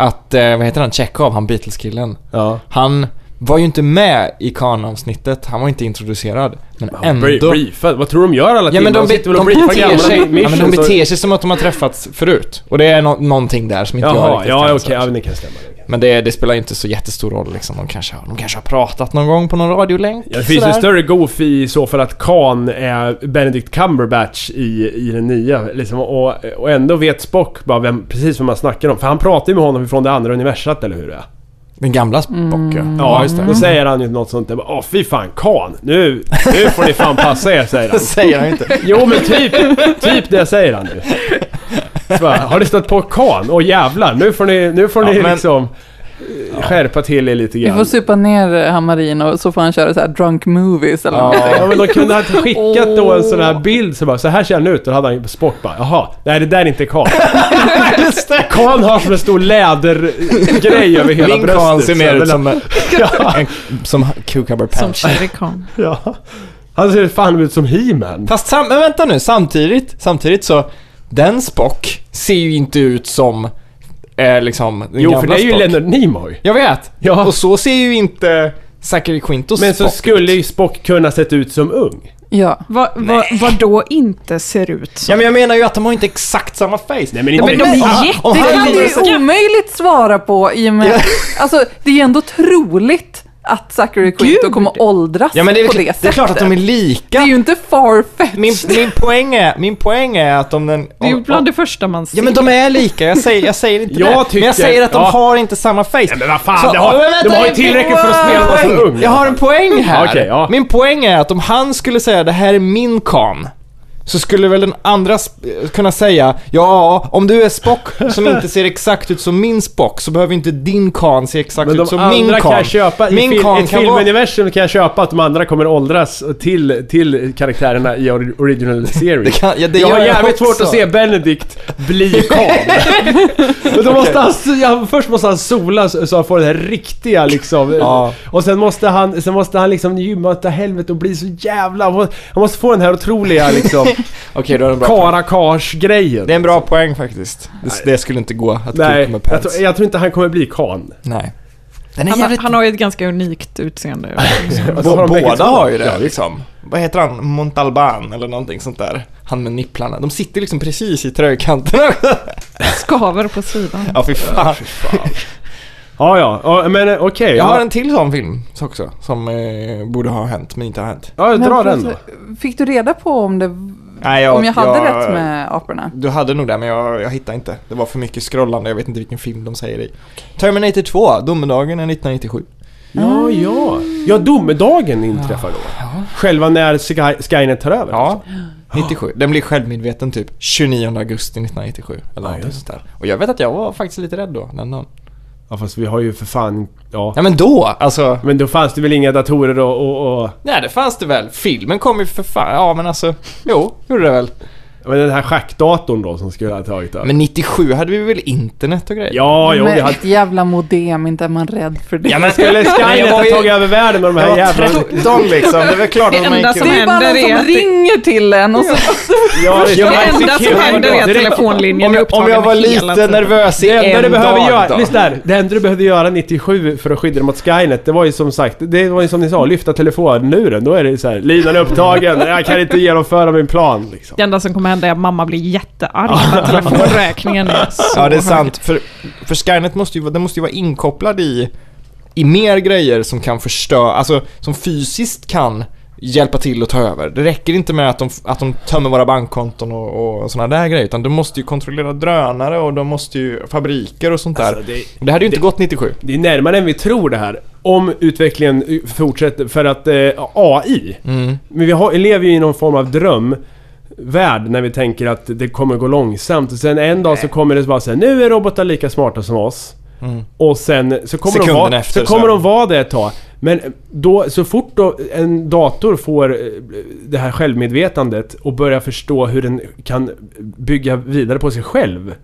Att, eh, vad heter han, Chekhov, han Beatles-killen.
Ja.
Han var ju inte med i Khan-avsnittet, han var inte introducerad. Men ändå...
Briefad. Vad tror de gör alla
Ja men de,
sitter
be,
väl
de,
och briefar
beter
gamla
sig, ja, men de
missions och-
beter sig som att de har träffats förut. Och det är no, någonting där som inte jag
Jaha,
riktigt
ja
kan
okej.
säga.
Ja, men det kan stämma. det kan-
Men det, det spelar ju inte så jättestor roll liksom. De kanske, har- de kanske har pratat någon gång på någon radiolänk.
Ja, det finns
sådär.
en större goof i så för att Khan är Benedict Cumberbatch i, i den nya. Liksom, och, och ändå vet Spock bara vem, precis vem man snackar om. För han pratar ju med honom från det andra universat, eller hur det är?
Den gamla
Mm.
Spock ja.
Då säger han ju något sånt där. Åh fy fan Khan! Nu, nu får ni fan passa er, säger
[laughs]
han.
Det säger han ju inte.
Jo men typ, typ det säger han nu. Så bara, Har ni stött på Khan? Åh jävlar, nu får ni, nu får
Ja,
ni
men-
liksom... skärpa till er lite
Vi
grann.
får supa ner Hammarin och så får han köra så här drunk movies eller
Ja.
något.
Ja, men då
[laughs]
kunde han skickat då en sån här bild så bara så här ser han ut. Då hade han på sport bara, jaha, nej det där är
[laughs]
inte Karl. Karl har som en stor lädergrej över hela
Min
bröstet.
karl ser
så
mer
jag
ut
vill-
som, [laughs] en, som cucumber
Som
patch.
Shere Khan.
Ja. [laughs] Han ser fan ut som He-Man.
Fast sam, men vänta nu, samtidigt, samtidigt så, den Spock ser ju inte ut som, eh, liksom, den
Jo,
gamla
för det är ju
Spock.
Leonard Nimoy.
Jag vet!
Ja.
Och så ser ju inte Zachary Quintos
Men så
Spock
skulle ju Spock kunna sett ut som ung.
Ja.
Vad va, vad då inte ser ut som?
Ja men jag menar ju att de har inte exakt samma face. Nej
men inte-
men de är
om
Det
han
kan du
hade,
ju omöjligt svara på i och med... Alltså, det är ju ändå troligt att Zachary Quinto
Gud.
kommer åldras
ja men det är,
på
väl-
det sättet.
det är klart att de är
Det
lika.
är ju inte farfetched.
Min, min, poäng är, min poäng är att om den...
Det är ju
om-
bland det första man ser.
Ja men de är lika, jag säger, jag säger inte
Jag
det. men
tycker-
jag säger att de
ja.
har inte samma face.
Nej, men vad fan,
Så-
de har-
Ja, men vänta,
de har ju
jag-
tillräckligt för att
jag-
spela som ung.
Jag har en poäng här.
Okej, ja.
Min poäng är att om han skulle säga det här är min kan så skulle väl den andra sp- kunna säga ja, om du är Spock som inte ser exakt ut som min Spock så behöver inte din kan se exakt
Men de
ut Typ som min
andra
kan.
kan jag köpa,
min
i fil,
kan
ett
kan vara...
filmuniversum kan jag köpa att de andra kommer åldras till, till karaktärerna i or- original series.
Det kan- ja, det
jag har
gör jag
jävligt
också.
svårt att se Benedict
[laughs]
bli karl. Men då måste han, ja, först måste han sola så så han får det här riktiga liksom.
Ja.
Och sen måste han, sen måste han liksom gymma åt helvete och bli så jävla... Han måste få den här otroliga liksom
Okej, då är det en [laughs] bra poäng.
karakars-grejen.
Det är en bra poäng faktiskt. Det, det skulle inte gå att
Nej,
koka med
jag,
pants.
tror- jag tror inte han kommer bli
[laughs]
kan.
Nej. Den är
Han, har-
jävligt...
han har ju ett ganska
[laughs]
unikt utseende.
så har de
båda
bägge två.
Alltså, har ju det
Ja, visst.
liksom. Vad heter han? Montalban eller någonting sånt där. Han med nipplarna. De sitter liksom precis i [laughs] tröjkanterna.
Skaver på sidan.
ja, fy fan.
Ja, ja. ja, Men eh, okej.
Jag har
ja.
en till sån film också som eh, borde ha hänt men inte har hänt.
Ja,
Men
dra den
förlåt,
då.
Fick du reda på om, det, om
Nej,
jag hade rätt med aporna?
Du hade nog det men jag, jag hittade inte. Det var för mycket scrollande. Jag vet inte vilken film de säger i. Terminator 2, Domedagen är 1997.
Ja, ja. Ja, domedagen inträffar då. Själva när Sky, Skynet tar över.
Ja, 97. Den blir självmedveten typ 29 augusti 1997. Eller någonting sånt där. Och jag vet att jag var faktiskt lite rädd då. Den dagen.
ja, fast vi har ju för fan... Ja.
Ja men då, alltså.
Men då fanns det väl inga datorer och... och, och
Nej, det fanns det väl. Filmen kom ju för fan. Ja, men alltså. Jo, gjorde det väl.
men den här schackdatorn då som skulle ha tagit över.
Men 97 hade vi väl internet och grejer?
Ja, jo,
med
vi hade...
ett jävla modem, inte är man rädd för det.
Ja, men [laughs]
Skulle
Nej,
Skynet
jag var
ha
ju-
tagit över världen med de här
Jag
jävla...
var 13 liksom. Det är väl klart
Det
att man
enda
gick
som
det är bara
händer
någon
är
som
att det-
ringer till en och så...
Ja, det
Det
är-
enda
alltså,
som
Secure
händer är att
Direkt-
telefonlinjen
Om
är
jag, om
upptagen
jag var
hela
lite
tiden.
nervös i
Det enda
en
du behöver
dag
göra,
då.
lyssna här. Det enda du behövde göra 97 för att skydda dig mot Skynet, det var ju som sagt, det var ju som ni sa, lyfta telefonluren. Då är det ju så här, linan är upptagen, jag kan inte genomföra min plan liksom.
Det enda som kommer hända är att mamma blir jättearg för att telefonräkningen är så
Ja, det är
hög.
sant. För, för Skynet måste ju, vara- den måste ju vara inkopplad i, i mer grejer som kan förstöra, alltså som fysiskt kan hjälpa till att ta över. Det räcker inte med att de, att de tömmer våra bankkonton och, och sådana där grejer, utan de måste ju kontrollera drönare och de måste ju fabriker och sånt där.
Alltså, det-
det, det hade ju inte gått 97.
Det är närmare än vi tror det här. Om utvecklingen eh, fortsätter, för att eh, AI.
Mm.
Men vi har, lever ju i någon form av drömvärld när vi tänker att det kommer gå långsamt. Och sen en dag så kommer det bara säga nu är robotar lika smarta som oss. Och sen så kommer, de
Mm. Sekunden
vara,
efter
så
så
kommer
är
de
det.
vara det ett tag. Men då, så fort då en dator får eh, det här självmedvetandet och börjar förstå hur den kan bygga vidare på sig själv.
Mm.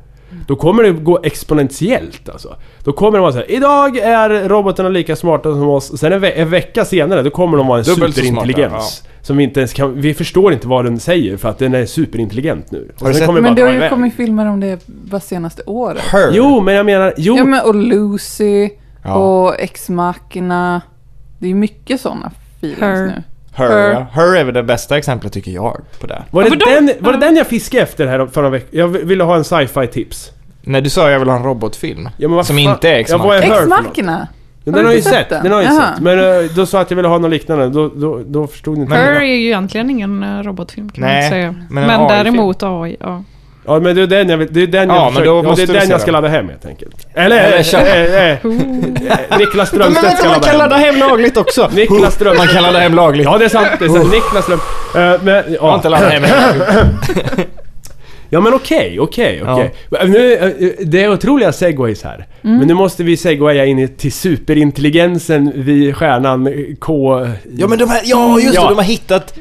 Då kommer det gå exponentiellt alltså. Då kommer de vara såhär, idag är robotarna lika smarta som oss. Sen en, ve- en vecka senare, då kommer de vara en
Dubbelt så smarta,
superintelligens.
ja.
Som vi inte ens kan, vi förstår inte vad den säger för att den är superintelligent nu. Och
Har du
sen
sett-
kommer bara
Men det har
dra
ju
iväg.
kommit filmer om det bara senaste året.
Her.
Jo, men jag menar, jo.
Ja, men och Lucy
Ja.
och ex machina Det är ju mycket sådana filmer
Her.
nu.
Her,
Her.
Ja. Her är väl det bästa exemplet tycker jag på det.
Var det,
Ja, för
den,
de-
var det den jag fiskade efter här förra veckan? Jag ville ha en sci-fi tips.
Nej, du sa jag vill ha en robotfilm.
Ja, men vad
som
fan-
inte är
Ja, vad är-
X-Man.
Her för
ex
något?
machina
Den
Har
har, jag
du
ju
inte
sett,
sett
den?
den?
har jag ju
Jaha.
sett. Men eh, då sa jag att jag ville ha något liknande. Då, då, då förstod inte
Her är
jag.
ju egentligen ingen eh, robotfilm kan
Nej,
man säga.
men en
Men,
AI-film.
däremot AI, ja.
Ja, men det är den jag vill- det är den jag
Ja, men
försöker-
då
ja, det
måste
är
du
den
se
jag ska
den.
ladda hem helt enkelt. Eller...
Eller
Eller...
köp-
[laughs]
Eller... eh, eh, Niklas
Men
Strömstedt
vänta,
ska
man
ladda
kan
hem.
ladda hem lagligt också!
Niklas
Man
Strömstedt.
kan ladda hem lagligt. [laughs]
Ja, det är sant. Det är sant. Niklas Ström... eh, men,
Jag har inte
ja.
laddat hem
Ja men okej, okej, okej. Nu, eh, Det är otroliga segways här. Men nu måste vi segwaya in i- till superintelligensen vid stjärnan eh, K...
Ja men de här, ja just
Ja.
det, de har hittat...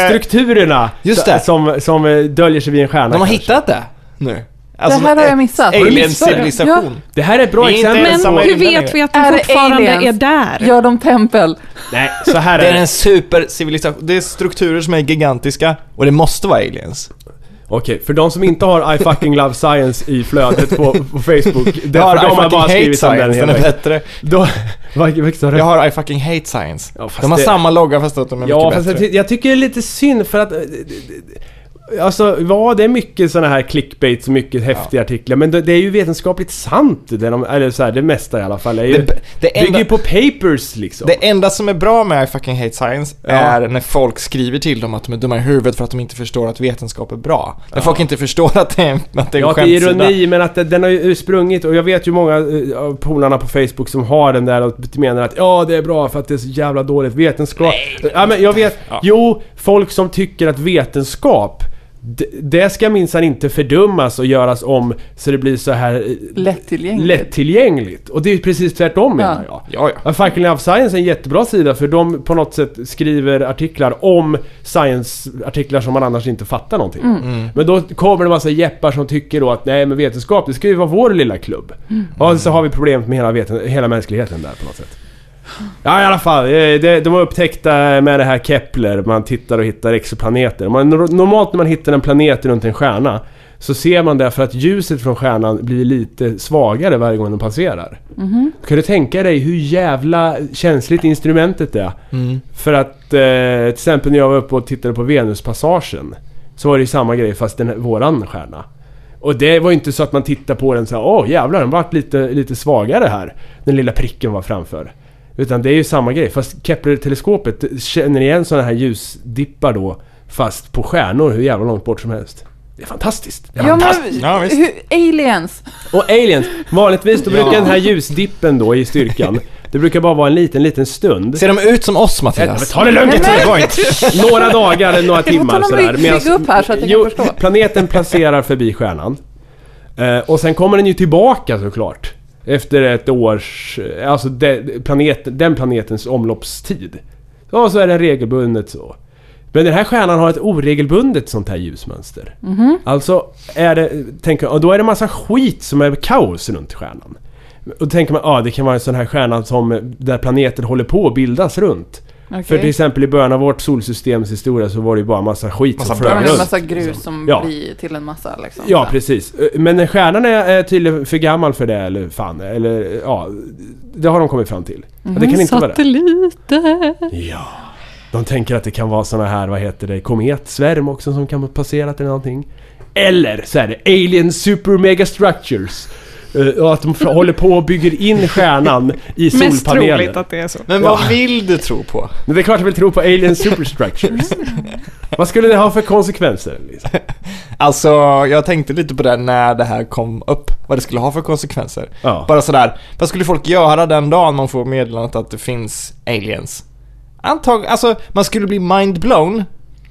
Superstrukturerna
just det.
Som, som eh, döljer sig vid en stjärna
De har
kanske. Alltså, eh,
hittat det nu.
Det här har jag missat. Har du
Alien
missat det?
civilisation.
Det här är ett bra
Det är inte
exempel
ens
på...
samma-
Hur
invändningar.
vet vi att
Är
de
det
fortfarande är
aliens?
där?
Gör de tempel?
Nej, så här
Det
är
är
det.
en supercivilisation. Det är strukturer som är gigantiska och det måste vara aliens.
Okej, för de som inte har I fucking love science i flödet på, på
[laughs]
Facebook.
Jag har
för de
I fucking hate
om den
science, den
hela
är
vägen.
bättre.
Då- Vad vad sa du?
Jag har I fucking hate science.
Ja, fast
de har
det-
samma logga fast att de är
Ja,
mycket
fast jag,
bättre.
ty- jag tycker det är lite synd för att... eh, det- det- Alltså, ja det är mycket sådana här clickbaits och mycket häftiga artiklar. Men det, det är ju vetenskapligt sant. Det de, eller så här, det mesta i alla fall. Det, är ju,
Det, det,
bygger
enda,
ju på papers liksom.
det enda som är bra med I fucking hate science
Ja.
är när folk skriver till dem att de är dumma i huvudet för att de inte förstår att vetenskap är bra. När folk inte förstår att det är, att det är
Ja,
en
det är
skämtsida.
ironi, men att det- den har ju sprungit och jag vet ju många eh, av polarna på Facebook som har den där och menar att ja, det är bra för att det är så jävla dåligt vetenskap. Ja, men jag vet.
Ja.
Jo, folk som tycker att vetenskap d- det ska minsann inte fördummas och göras om så det blir så här eh,
Lättillgängligt.
lättillgängligt. Och det är ju precis tvärtom menar jag.
Ja, ja.
Ja, Fucking Love Science är en jättebra sida för de på något sätt skriver artiklar om science-artiklar som man annars inte fattar någonting om. Men då kommer det en massa jeppar som tycker då att nej men vetenskap det ska ju vara vår lilla klubb. Och så har vi problemet med hela, veten- hela mänskligheten där på något sätt. Ja i alla fall, eh, det- de var upptäckta med det här Kepler, man tittar och hittar exoplaneter. Man, nor- normalt när man hittar en planet runt en stjärna så ser man det för att ljuset från stjärnan blir lite svagare varje gång den passerar. Kan du tänka dig hur jävla känsligt instrumentet är? För att eh, till exempel när jag var uppe och tittade på Venuspassagen så var det ju samma grej fast den, våran stjärna. Och det var ju inte så att man tittade på den så här, åh jävlar den vart lite, lite svagare här. Den lilla pricken var framför. Utan det är ju samma grej fast Kepler-teleskopet känner igen sådana här ljusdippar då fast på stjärnor hur jävla långt bort som helst. Det är fantastiskt! Det är
Ja, men,
Ja, visst.
hur, aliens.
och aliens, vanligtvis då brukar den här ljusdippen då i styrkan, det brukar bara vara en liten, liten stund.
Ser de ut som oss
Ja, men
Mattias?
Ta det lugnt!
Nej,
[laughs]
men-
Några dagar eller några timmar
Jag får ta någon
sådär.
bygg-
medans-
bygg upp här så att jag kan
jo,
förstå.
planeten placerar förbi stjärnan. Eh, och sen kommer den ju tillbaka såklart. Efter ett års, eh, alltså de, planeten, den planetens omloppstid. Ja, så är den regelbundet så. Men den här stjärnan har ett oregelbundet sånt här ljusmönster.
Mhm.
Alltså, är det, tänker, och då är det massa skit som är kaos runt stjärnan. Och då tänker man, ja ah, det kan vara en sån här stjärna som, eh, där planeter håller på att bildas runt.
Okej.
För till exempel i början av vårt solsystems historia så var det ju bara massa skit
Massa
som flög
Ja, men en
runt.
massa grus som
Ja.
blir till en massa liksom.
Ja, precis. Eh, Men stjärnan är- är tydligen för gammal för det, eller fan, eller eh, ja. Det har de kommit fram till.
Mhm. Mm.
Att Det kan inte vara det.
Satelliter.
Ja. De tänker att det kan vara såna här, vad heter det, kometsvärm också som kan ha passerat eller någonting. Eller så är det alien super mega structures. Eh, Och att de f- håller på och bygger in stjärnan i
Mest
solpaneler.
troligt att det är så.
Men vad vill du tro på?
Men det är klart jag vill tro på alien superstructures. Vad skulle det ha för konsekvenser? Liksom?
Alltså, jag tänkte lite på det när det här kom upp, vad det skulle ha för konsekvenser.
Ja.
Bara sådär, vad skulle folk göra den dagen man får meddelandet att det finns aliens? Antag, alltså man skulle bli mindblown,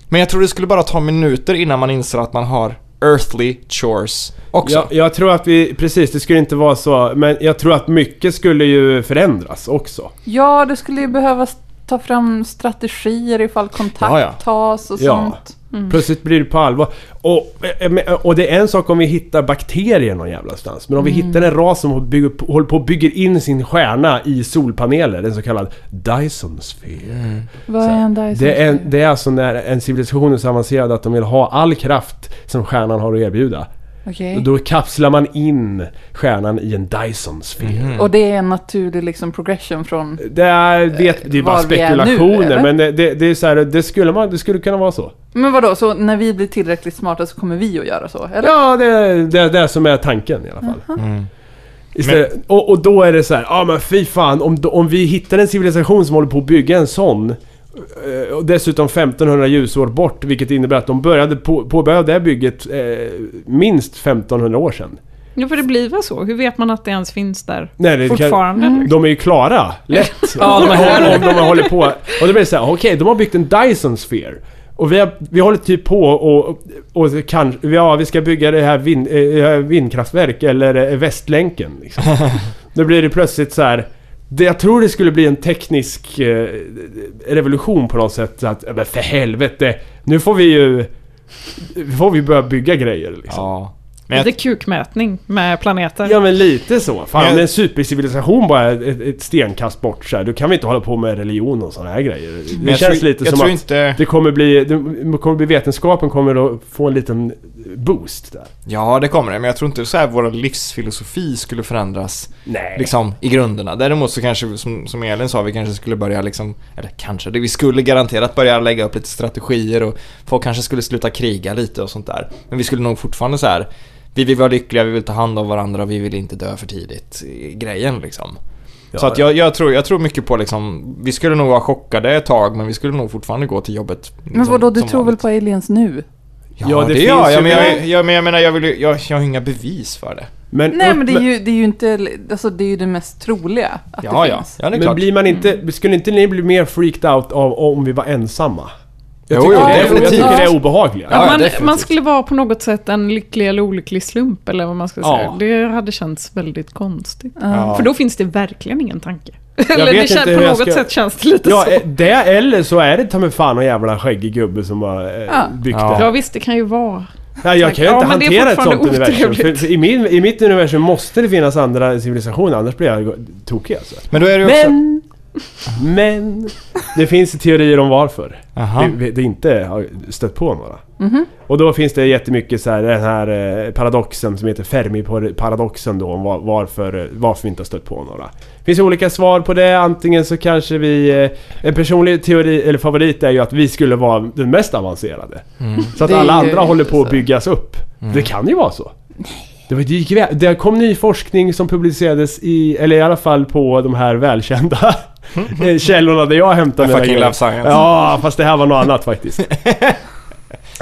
men jag tror det skulle bara ta minuter innan man inser att man har earthly chores också.
Jag, jag tror att vi, precis det skulle inte vara så, men jag tror att mycket skulle ju förändras också.
Ja, du skulle ju behöva ta fram strategier ifall kontakt
Ja, ja.
tas och
Ja.
sånt.
Plötsligt blir det på allvar. Och, eh, men, eh, och det är en sak om vi hittar bakterier någon jävla stans. Men om vi hittar en ras som bygger, på- håller på och bygger in sin stjärna i solpaneler, en så kallad Dyson-sfär.
Vad är en Dyson?
Det är, det är alltså när en civilisation är så avancerad att de vill ha all kraft som stjärnan har att erbjuda.
Okej.
Och Då kapslar man in stjärnan i en Dyson-sfär.
Och det är en naturlig liksom progression från...
Det är, vet, det är bara
Eh, var vi är nu,
spekulationer
eller?
men det, det, det är så här, det skulle, man, det skulle kunna vara så.
Men vadå, så när vi blir tillräckligt smarta så kommer vi att göra så? Eller?
Ja, det är det, är det som är tanken i alla fall. Istället, och, och då är det så här, ja men fy fan om, om vi hittar en civilisation som håller på att bygga en sån eh, och dessutom 1500 ljusår bort vilket innebär att de började på, påbörja det här bygget eh, minst 1500 år sedan.
Ja, för det blir väl så. Hur vet man att det ens finns där
Nej, det kan,
fortfarande?
Mm.
Mm.
liksom?
de är ju klara, lätt.
[laughs] Ja, de
Om
här-
om de har hållit på. Och då blir det så här, okej, de har byggt en Dyson Sphere. Och vi, har, vi håller typ på och, och kan, ja, vi ska bygga det här vind, eh, vindkraftverk eller eh, Västlänken.
[laughs]
Liksom. Då blir det plötsligt så här. Det, jag tror det skulle bli en teknisk eh, revolution på något sätt. så Att, "Ja, men för helvete, nu får vi ju... Nu får vi börja bygga grejer liksom.
Ja. Men jag,
Lite kukmätning med planeter.
Ja, men lite så. Fan,
Men-
men en supercivilisation bara är ett, ett stenkast bort så här. Då kan vi inte hålla på med religion och sådana här grejer. Det
men jag
känns
tror,
lite
jag
som
tror
att...
inte...
Det kommer bli, det kommer bli, vetenskapen kommer att få en liten boost där.
Ja, det kommer det. Men jag tror inte så här vår livsfilosofi skulle förändras
Nej.
liksom, i grunderna. Däremot så kanske, vi, som, som Elin sa, vi kanske skulle börja liksom, eller kanske, det- vi skulle garanterat börja lägga upp lite strategier och folk kanske skulle sluta kriga lite och sånt där. Men vi skulle nog fortfarande så här, vi vill vara lyckliga, vi vill ta hand om varandra, vi vill inte dö för tidigt. eh, Grejen liksom. så att jag, jag, tror, jag tror mycket på liksom, vi skulle nog vara chockade ett tag men vi skulle nog fortfarande gå till jobbet.
Men
Mm, som-
vadå, du
som
tror väl
vanligt.
på aliens nu?
Ja,
Ja, det
det,
finns
gör
ju-
jag, men jag, jag, men jag menar, jag, vill, ju- jag, jag har inga bevis för det.
Men,
Nej men det är ju, det är ju inte, alltså det är ju det mest troliga att
Ja,
det
ja.
finns.
ja, det är
men
klart.
blir man inte, skulle inte ni bli mer freaked out av om vi var ensamma? Jag
Jo,
tycker,
jo,
det, är, jag
definitivt.
tycker det är obehagligt.
Ja,
Att
ja,
man,
definitivt.
man skulle vara på något sätt en lycklig eller olycklig slump eller vad man ska säga.
Ja.
Det hade känts väldigt konstigt.
Ja.
För då finns det verkligen ingen tanke. [laughs] eller
vet
det kän-
inte hur
på
jag
något
ska-
sätt känns det lite
Ja,
så.
eh, det eller så är det ta mig fan någon jävla skäggig gubbe som har eh,
Ja.
byggt
Ja.
det.
Ja
här.
visst, det kan ju vara.
Nej, jag kan ju
Ja,
inte
men det är
hantera ett sånt
fortfarande
universum. För,
otrevligt.
för i, min, I mitt universum måste det finnas andra civilisationer, annars blir jag tokig alltså.
Men då är det ju också...
Men... Men... Det finns teorier om varför.
Aha.
vi, vi, det inte har stött på några.
Mhm.
Och då finns det jättemycket så här, den här eh, paradoxen som heter Fermi-paradoxen då om var, varför, eh, varför vi inte har stött på några. Det finns olika svar på det. Antingen så kanske vi... eh, En personlig teori eller favorit är ju att vi skulle vara den mest avancerade. Så att
Det är
alla
ju
andra håller
inte
på att
så.
byggas upp. Det kan ju vara så. Det, var, det, gick, iväg- det kom ny forskning som publicerades i, eller i alla fall på de
[laughs]
här välkända eh, källorna där jag hämtade
I
mina
fucking
grejer.
love science.
Ja, fast det här var något
[laughs]
annat faktiskt.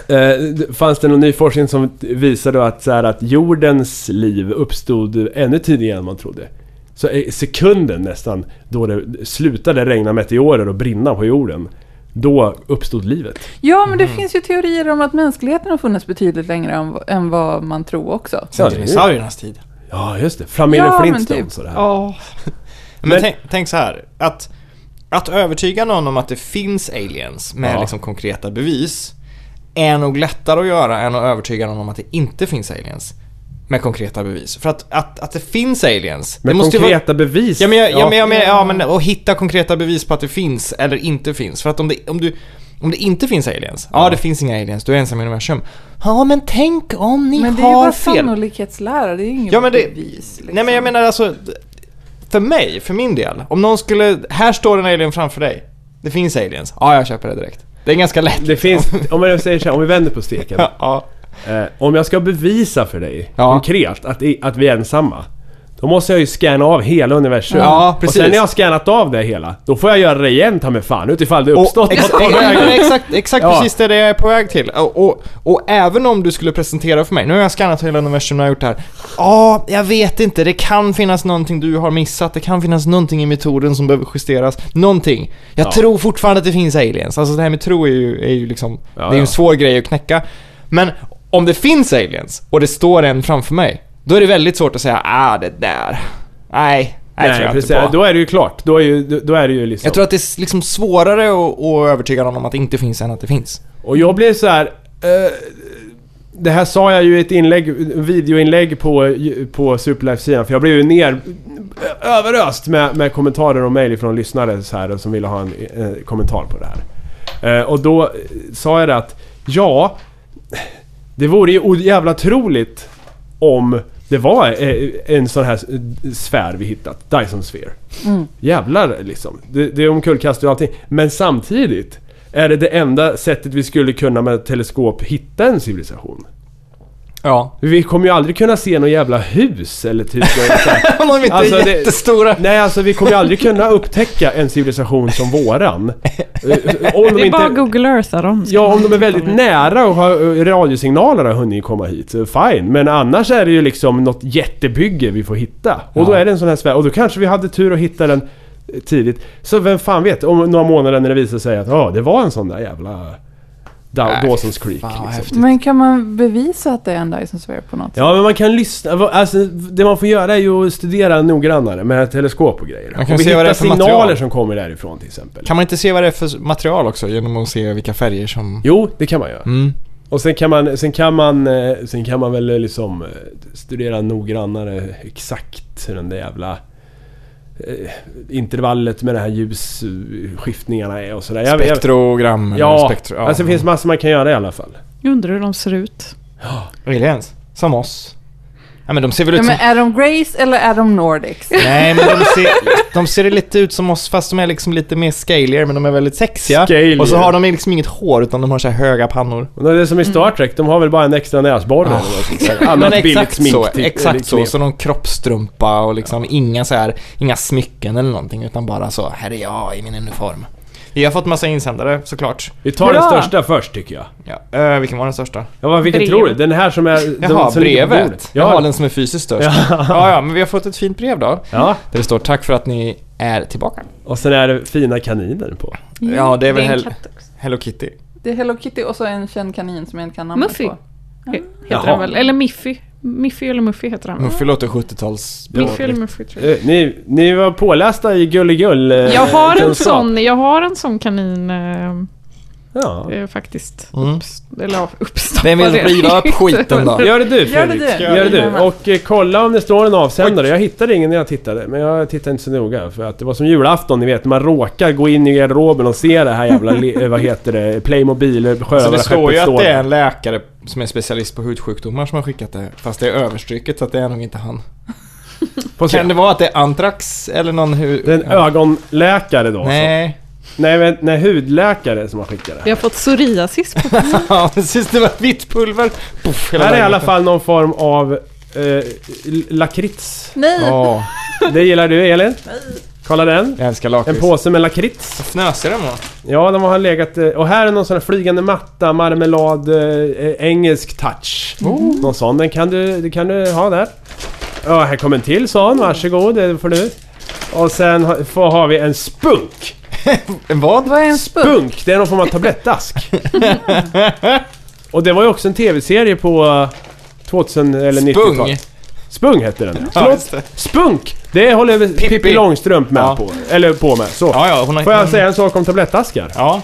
Eh, d- Fanns det någon ny forskning som visade att, så här, att jordens liv uppstod ännu tidigare än man trodde? Så eh, sekunden nästan då det slutade regna meteorer och brinna på jorden, då uppstod livet.
Ja, men det
Mm.
finns ju teorier om att mänskligheten har funnits betydligt längre än, än vad man tror också.
Sen
Ja, det är ju-
dinosauriernas tid.
Ja, just det. Familjen
Ja, men
Flintstones
typ.
och det här.
Ja.
[laughs] Men,
Men-
tänk, tänk så här, att, att övertyga någon om att det finns aliens med
Ja.
liksom konkreta bevis är nog lättare att göra än att övertyga någon om att det inte finns aliens med konkreta bevis. För att, att, att det finns aliens,
Med
det måste ju vara-
konkreta bevis.
Ja men, jag, ja, men, jag, men, ja, men och hitta konkreta bevis på att det finns eller inte finns. För att om det, om du, om det inte finns aliens, ja det finns inga aliens, du är ensam i universum. Ja men tänk om ni
Men det är ju
har
bara
fel.
sannolikhetslära, det är ju inget
Ja, men det-
bevis. Liksom.
Nej men jag menar alltså, för mig, för min del. Om någon skulle, här står en alien framför dig. Det finns aliens. Ja, jag köper det direkt. Det är ganska lätt. liksom.
Det finns, om jag säger så här, om vi vänder på steken.
[laughs] Ja.
Eh, om jag ska bevisa för dig
Ja.
konkret att, i- att vi är ensamma. Då måste jag ju scanna av hela universum.
Ja,
och
precis.
sen när jag har scannat av det hela, då får jag göra det igen ta mig fan utifall det uppstått
Och,
något.
exakt, [laughs] exakt, exakt
Ja.
precis det är det jag är på väg till. Och, och, och även om du skulle presentera för mig, nu har jag skannat hela universum och jag har gjort det här. Ja, jag vet inte, det kan finnas någonting du har missat, det kan finnas någonting i metoden som behöver justeras. Någonting. Jag
Ja.
tror fortfarande att det finns aliens. Alltså det här med tro är ju, är ju liksom,
Ja,
det är ju
ja.
en svår grej att knäcka. Men om det finns aliens och det står en framför mig, då är det väldigt svårt att säga ah det där, nej, nej, tror
Nej,
jag
precis.
inte på.
Då är det ju klart. Då är, ju, då- då är det ju liksom...
Jag tror att det är liksom svårare att, att övertyga någon om att det inte finns än att det finns.
Och jag blev så här. Eh, det här sa jag ju i ett inlägg, videoinlägg på, på Superlife-sidan. För jag blev ju ner... eh, Överöst med, med kommentarer och mejl från lyssnare så här, som ville ha en eh, kommentar på det här. Eh, och då eh, sa jag det att, ja... Det vore ju o- jävla troligt om det var eh, en sån här eh, sfär vi hittat. Dyson Sphere. Jävlar liksom. Det, det omkullkastar ju allting. Men samtidigt är det det enda sättet vi skulle kunna med teleskop hitta en civilisation.
Ja.
Vi kommer ju aldrig kunna se något jävla hus eller typ något
[laughs]
så här.
[laughs] Om de inte
Alltså,
är
det-
jättestora.
Nej alltså vi kommer ju aldrig kunna upptäcka en civilisation som våran. Eh, eh, Om
Det är bara Google Eartha dem.
Ja, om de är väldigt nära och har, radiosignaler har hunnit komma hit, så fine. Men annars är det ju liksom något jättebygge vi får hitta. Och då
Ja.
är det en sån här sfär. Och då kanske vi hade tur att hitta den eh, tidigt. Så vem fan vet, om några månader när det visar sig att ja, det var en sån där jävla Da-
Nej,
Dawson's Creek.
Fan vad
liksom.
häftigt.
Men kan man bevisa att det är en Dyson Sphere på något sätt?
Ja, men man kan lyssna. va- Alltså, det man får göra är ju att studera noggrannare med teleskop och grejer.
Man kan
och
se vad det är för
signaler
material.
som kommer därifrån till exempel.
Kan man inte se vad det är för material också genom att se vilka färger som...
Jo, det kan man göra.
Mm.
Och sen kan man, sen kan man, eh, sen kan man väl liksom eh, studera noggrannare exakt hur den där jävla eh, intervallet med de här ljusskiftningarna är och sådär. Jag- jag-
Spektrogram eller
Ja,
spektro...
alltså det finns massor man kan göra i alla fall.
Jag undrar hur de ser ut.
Aliens. Som oss. Ja, men de ser väl ut
Ja,
som...
men är de Grace eller är
[laughs]
de Nordics?
Nej, men de ser, de ser lite ut som oss fast de är liksom lite mer scaligare men de är väldigt sexiga.
Scalier.
Och så har de liksom inget hår utan de har så här höga pannor.
Och det är som i Star Trek, de har väl bara en extra näsborre eller något sånt där.
Mm. Men
Annat billigt
[laughs] exakt
smink
så.
till- eller
Exakt så.
knep.
Så någon kroppstrumpa och liksom inga så här, inga smycken eller någonting utan bara så, här är jag i min uniform. Vi har fått massa insändare såklart.
Vi tar
Bra.
den största först tycker jag.
Ja. eh, vilken var den största?
Ja, vad, vilken
Brev.
tror du? Den här som är...
Jaha,
de som ligger på
brevet.
bordet.
Jag
Ja,
har den som är fysiskt störst. Ja. ja, men vi har fått ett fint brev då.
ja,
Där det står tack för att ni är tillbaka.
och sen är det fina kaniner på.
Ja, det är väl
en
Hel-
katt också.
Hello Kitty.
Det är Hello Kitty och så en känd kanin som jag inte kan namnet
Muffy.
på.
Heter
Jaha.
den väl? Eller Miffy. Miffy eller Muffy heter den.
Muffy låter 70-tals...
Miffy eller Muffy tror jag.
Eh, Ni, ni var pålästa i gulligull eh,
Jag har en
kunskap.
sån, jag har en sån kanin eh,
Ja.
eh, faktiskt.
Mm.
Eller ja, uppstoppad.
Vem vill
redan. [laughs]
riva upp skiten då?
Gör det du
Gör det
Fredrik.
du.
Gör det du.
Ja.
Och eh, kolla om det står en avsändare. Jag hittade ingen när jag tittade. Men jag tittade inte så noga. För att det var som julafton ni vet. Man råkar gå in i garderoben och se det här jävla, le- eh, vad heter det, Playmobil, eh,
Så Alltså, det
sjööverskeppet
står ju att det är
där.
en läkare som är specialist på hudsjukdomar som har skickat det. Fast det är överstryket så att det är nog inte
[laughs]
han.
Får se.
Kan det vara att det är antrax eller någon hud...
Det är en ögonläkare då. Nej.
Nej. [laughs]
Nej, men, nej, hudläkare som har skickat det.
Vi har fått psoriasis på
Ja, precis. Det var vitt pulver. Puff, hela
Här är i
vägen
alla
upp.
fall någon form av eh, l- lakrits.
Nej!
Ja,
Det gillar du Elin? Kolla den.
jag älskar
En
lakrits.
påse med lakrits.
Fnösiga de var.
Ja, de har legat... eh, Och här är någon sån här flygande matta, marmelad, eh, eh, engelsk touch.
Oh.
Någon sån. Den kan du, det kan du ha där. Ja, här kommer en till sån. Varsågod, det får du. Och sen ha- får, har vi en spunk.
En vad?
Vad är en spunk?
Spunk, det är någon form av tablettask.
[laughs]
Och det var ju också en tv-serie på eh, 2000 eller 90-talet.
Spung.
Spung hette den.
Ja,
Förlåt,
just det.
Spunk! Det håller väl Pippi,
Pippi
Långstrump med
Ja.
på. Eller på med. Så.
Ja, ja, hon har
Får jag säga en sak om tablettaskar?
Ja.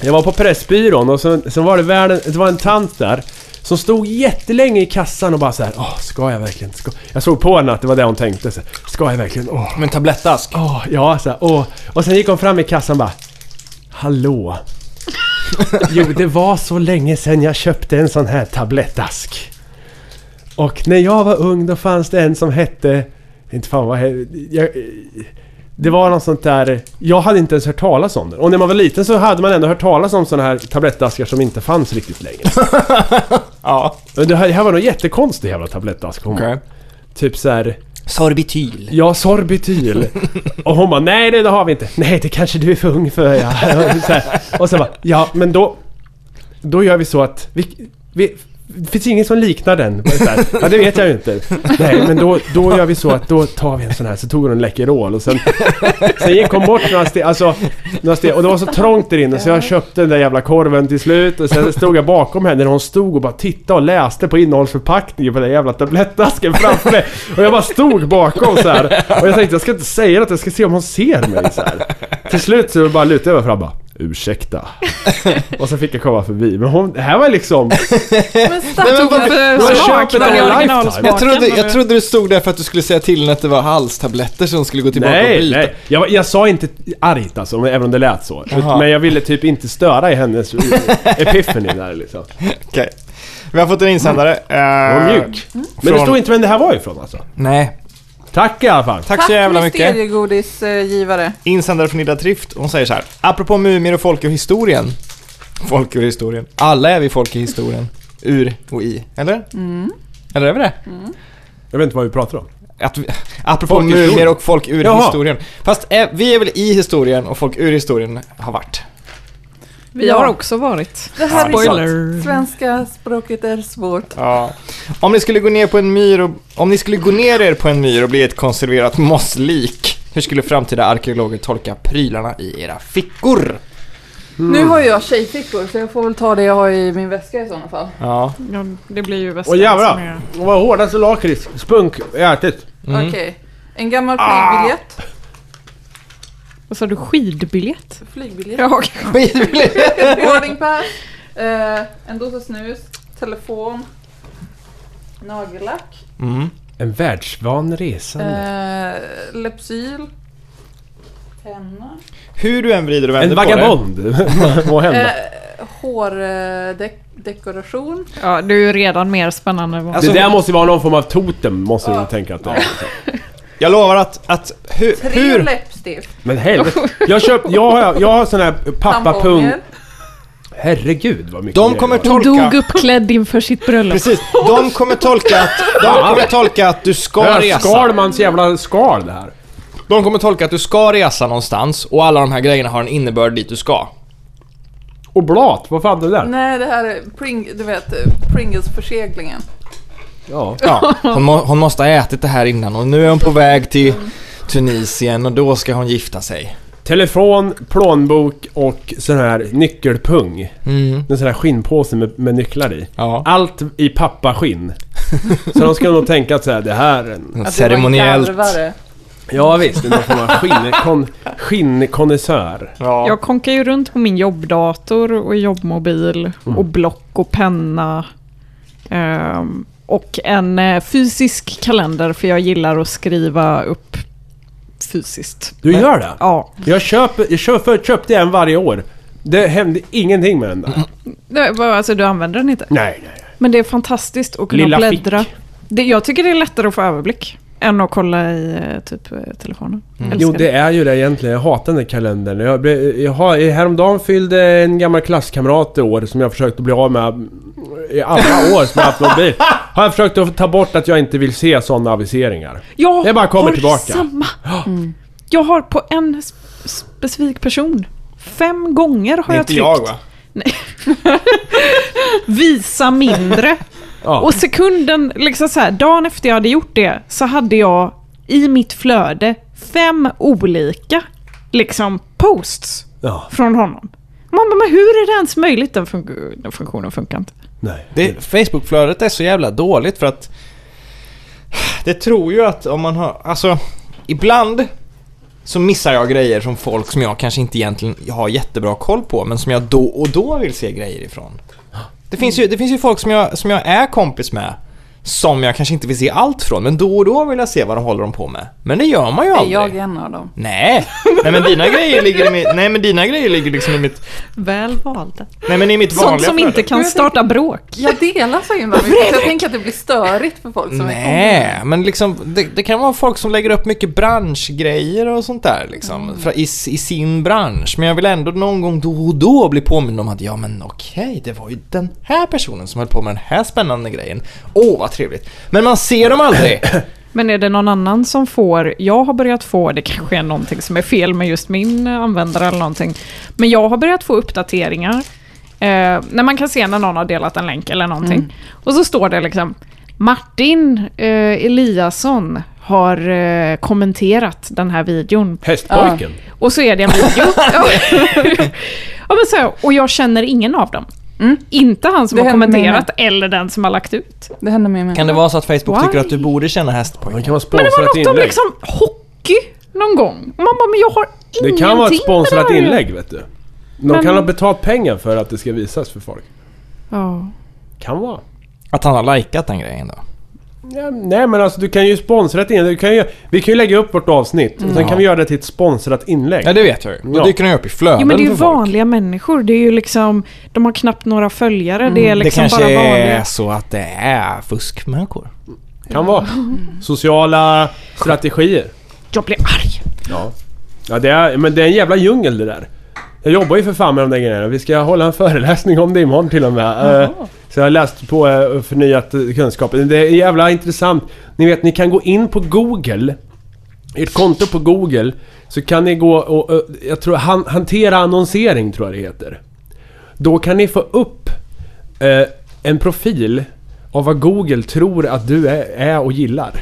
Jag var på Pressbyrån och sen, sen var det, världen, det var en tant där som stod jättelänge i kassan och bara så här, Åh, ska jag verkligen? Ska... Jag såg på henne att det var det hon tänkte. Så här, ska jag verkligen? Åh,
Men tablettask.
åh, ja, så här, åh. Och sen gick hon fram i kassan och bara, hallå? Jo, det var så länge sedan jag köpte en sån här tablettask. Och när jag var ung då fanns det en som hette... Inte fan vad he- jag, Det var något sånt där... Jag hade inte ens hört talas om den. Och när man var liten så hade man ändå hört talas om såna här tablettaskar som inte fanns riktigt längre.
Ja.
Men det här, det här var nog jättekonstig jävla tablettask. Hon
Okej.
bara, Typ så här...
Sorbityl.
Ja, sorbityl. Och hon bara, nej det, det har vi inte. Nej, det kanske du är för ung för. Ja. [laughs] Så här. Och sen bara, ja men då... Då gör vi så att vi... vi det finns ingen som liknar den. Bara Så här. Ja, det vet jag ju inte. [laughs] Nej, men då, då gör vi så att då tar vi en sån här. Så tog hon en Läkerol och sen... Sen gick hon bort några steg, alltså... Några steg, och det var så trångt där inne så jag köpte den där jävla korven till slut. Och sen stod jag bakom henne när hon stod och bara tittade och läste på innehållsförpackningen på den jävla tablettasken framför mig. Och jag bara stod bakom så här. Och jag tänkte jag ska inte säga något, jag ska se om hon ser mig så här. Till slut så bara lutade jag mig fram och bara Ursäkta. Och så fick jag komma förbi. Men hon, det här var liksom...
Men
Nej, men
stackars-
vad-
Då
för
köper
smakerna
de
i
en
originalsmaken.
Jag trodde, jag trodde du stod där för att du skulle säga till henne att det var halstabletter som skulle gå tillbaka och
Nej,
bryta.
nej. Jag, var- jag sa inte argt alltså, men- även om det lät så.
Jaha.
Men jag ville typ inte störa i hennes epiphany där liksom.
[laughs] Okej. Vi har fått en insändare.
Hon var
Mm.
mjuk. Men det
Från-
stod inte vem det här var ifrån alltså.
Nej.
Tack i alla fall.
Tack så jävla mycket.
mysteriegodisgivare.
Insändare från Ida Trift. Hon säger så här. Apropå mumier och folk ur historien. Folk ur historien. Alla är vi folk i historien. Ur och i. Eller? Eller är vi det?
Jag vet inte vad vi pratar om.
Att vi, apropå
Folk ur
mumier
historien.
och folk ur
Jaha.
historien. Fast eh, vi är väl i historien och folk ur historien har varit.
Vi har också varit.
Det här är
Spoiler.
Svenska språket är svårt.
Ja. Om ni skulle gå ner på en myr och, om ni skulle gå ner er på en myr och bli ett konserverat mosslik, hur skulle framtida arkeologer tolka prylarna i era fickor?
Nu har jag tjejfickor så jag får väl ta det jag har i min väska i sådana fall.
Ja.
Ja, det blir ju bäst.
Åh jävlar! Vad hårdaste lakrits, spunk, jag ätit.
Mm.
Okej. En gammal flygbiljett.
Vad sa du? Skidbiljett?
Flygbiljett.
Ja,
[laughs]
Skitbilligt.
Boarding pass. Eh, en dosa snus. Telefon. Nagellack.
Mm.
En världsvan resande.
Eh, Lepsyl. Penna.
Hur du än vrider och vänder
en vagabond, må hända.
Eh, Hårdekoration.
ja det är ju redan mer spännande än vad
Alltså-
det där måste ju vara någon form av totem, måste du
Ja.
tänka att det är.
Jag lovar att... att hur,
Tre
hur,
läppstift.
Men
[laughs]
helvete. Jag, köp, jag, har, jag har sån här pappapung...
Tamponger.
Herregud vad mycket
de
grejer
kommer
jag har.
Hon
tolka...
dog uppklädd inför sitt bröllop.
Precis, de kommer tolka att, de kommer tolka att du
Det
ska
här är
resa.
Skalmans jävla skal det här.
De kommer tolka att du ska resa någonstans och alla de här grejerna har en innebörd dit du ska.
Och blat, vad fan är det där?
Nej, det här är Pring, du vet, eh, Pringles-förseglingen.
Ja.
Ja, hon, må, hon måste ha ätit det här innan och nu är hon på väg till Tunisien och då ska hon gifta sig.
Telefon, plånbok och sån här nyckelpung.
Mm,
En sån här skinnpåse med, med nycklar i.
ja.
Allt i [laughs] pappaskinn. Så de skulle nog tänka att så här, det här är en...
Ceremoniellt.
Att det var garvare.
Ja visst, det är någon form av skinnkon, skinnkonnässör.
Ja.
Jag konkar ju runt på min jobbdator och jobbmobil
Mm.
och block och penna. Ehm, och en eh, fysisk kalender för jag gillar att skriva upp fysiskt.
Du gör det?
Ja,
Jag, köper, jag köper, köpte en varje år. Det hände ingenting med den där.
det var, alltså du använder den inte.
Nej, nej.
Men det är fantastiskt att kunna
Lilla
bläddra.
fick.
Det, jag tycker det är lättare att få överblick än att kolla i eh, typ eh, telefonen. Älskar
Jo, det är ju det egentligen. Jag hatar den där kalendern. Jag, blev- jag har, häromdagen fyllde en gammal klasskamrat i år som jag försökt att bli av med i alla år som jag haft
[laughs]
mobil. Har jag försökt att ta bort att jag inte vill se sådana aviseringar.
Jag
Det bara kommer
har
tillbaka.
samma. Mm. Jag har på en sp- specifik person, fem gånger har
Det är
jag
inte
tryckt
jag va?
[laughs]
visa mindre.
Ja.
Och sekunden, liksom så här, dagen efter jag hade gjort det så hade jag i mitt flöde fem olika liksom posts
Ja,
från honom. Man bara, men hur är det ens möjligt? Den, fun- den funktionen funkar inte.
nej.
Det, Facebookflödet är så jävla dåligt för att det tror ju att om man har, alltså ibland så missar jag grejer från folk som jag kanske inte egentligen har jättebra koll på men som jag då och då vill se grejer ifrån. Det finns ju, det finns ju folk som jag, som jag är kompis med som jag kanske inte vill se allt från men då och då vill jag se vad de håller dem på med. Men det gör man ju
Är
aldrig.
jag en av dem?
Nej. Nej men dina grejer ligger i mitt, nej men dina grejer ligger liksom i mitt,
Väl valda.
nej men i mitt vanliga
Sånt som
flöde.
inte kan starta bråk.
Jag delar så
[laughs]
himla mycket så jag tänker att det blir störigt för folk som är
Nej, men liksom, det, det kan vara folk som lägger upp mycket branschgrejer och sånt där liksom,
Mm.
fra- i, s- i sin bransch. Men jag vill ändå någon gång då och då bli påmind om att ja men okej, det var ju den här personen som höll på med den här spännande grejen. Åh vad trevligt. Men man ser dem
[coughs]
aldrig.
Men är det någon annan som får, jag har börjat få, det kanske är någonting som är fel med just min eh, användare eller någonting, men jag har börjat få uppdateringar eh, när man kan se när någon har delat en länk eller någonting.
Mm.
Och så står det liksom Martin eh, Eliasson har eh, kommenterat den här videon.
Hästpojken.
Och så är det en video. ja, men så, här, och jag känner ingen av dem. Inte han som
Mm. Det
har
händer mig
kommenterat eller den som har lagt ut.
Det händer mig med.
Kan det vara så att Facebook
Why?
tycker att du borde känna
Man
hästpojken?
kan vara
Men det var
sponsrat
något om
inlägg.
liksom hockey någon gång. Och Man bara, men jag har
Det
ingenting
kan vara ett
med
sponsrat
det här.
inlägg, vet du. De
Men-
kan ha betalt pengar för att det ska visas för folk.
Ja.
Kan vara.
Att han har likat den grejen då?
Ja, nej men alltså du kan ju sponsra ett inlägg. Du kan ju, vi kan ju lägga upp vårt avsnitt.
Mm.
Och sen kan vi göra det till ett sponsrat inlägg.
Ja det vet jag ju. Då
Ja.
dyker den ju upp i flöden
Jo men det är ju
för folk.
vanliga människor. Det är ju liksom, de har knappt några följare. Det
Mm,
är
Det
liksom
kanske
bara
är
vanliga.
så att det är fuskmänniskor.
Kan vara. Sociala strategier.
Jag blir arg.
Ja. ja det är, men det är en jävla djungel det där. Jag jobbar ju för fan med de där grejerna. Vi ska hålla en föreläsning om det imorgon till och med. Eh, Så jag har läst på eh, och förnyat eh, kunskapen. Det är jävla intressant. Ni vet, ni kan gå in på Google. Ert konto på Google. Så kan ni gå och, eh, jag tror, han, hantera annonsering tror jag det heter. Då kan ni få upp eh, en profil av vad Google tror att du är, är och gillar.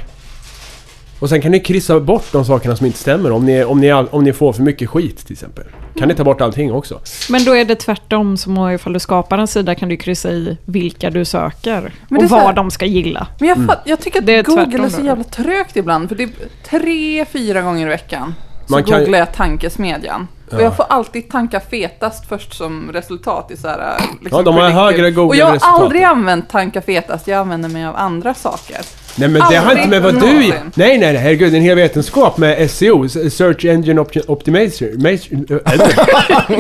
Och sen kan ni kryssa bort de sakerna som inte stämmer om ni, om ni, all- om ni får för mycket skit till exempel. Kan ni ta bort allting också?
Men då är det tvärtom, som ifall du skapar en sida kan du kryssa i vilka du söker
Men det är
och
så här-
vad de ska gilla.
Men
Mm.
jag, fatt, jag tycker att
Det är
Google
tvärtom
är så
då.
jävla trögt ibland. För det är tre, fyra gånger i veckan så
Man kan-
googlar jag tankesmedjan. Och
Ja.
jag får alltid tanka fetast först som resultat i så här... liksom,
Ja, de har
predictive.
högre Google-resultat.
Och jag har aldrig använt tanka fetast, jag använder mig av andra saker.
Nej men det har inte med vad du...
Aldrig
Nej nej nej, herregud, det är en hel vetenskap med SEO, Search Engine Opti- Optimizer. Mas-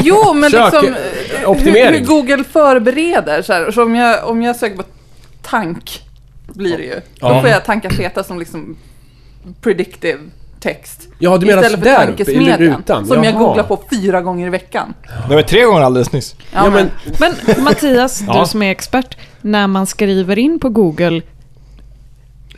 Jo, men
Sök-
liksom eh, hur,
optimering.
hur Google förbereder. Så, här, så om, jag, om jag söker på tank blir det ju. Då
Ja.
får jag tanka feta som liksom predictive text.
Ja, du menar
Istället för
där uppe i
tankesmedjan
rutan.
som jag
Jaha.
googlar på fyra gånger i veckan.
Det var tre gånger alldeles nyss.
Ja, men,
Men Mattias,
[laughs] Ja.
du som är expert, när man skriver in på Google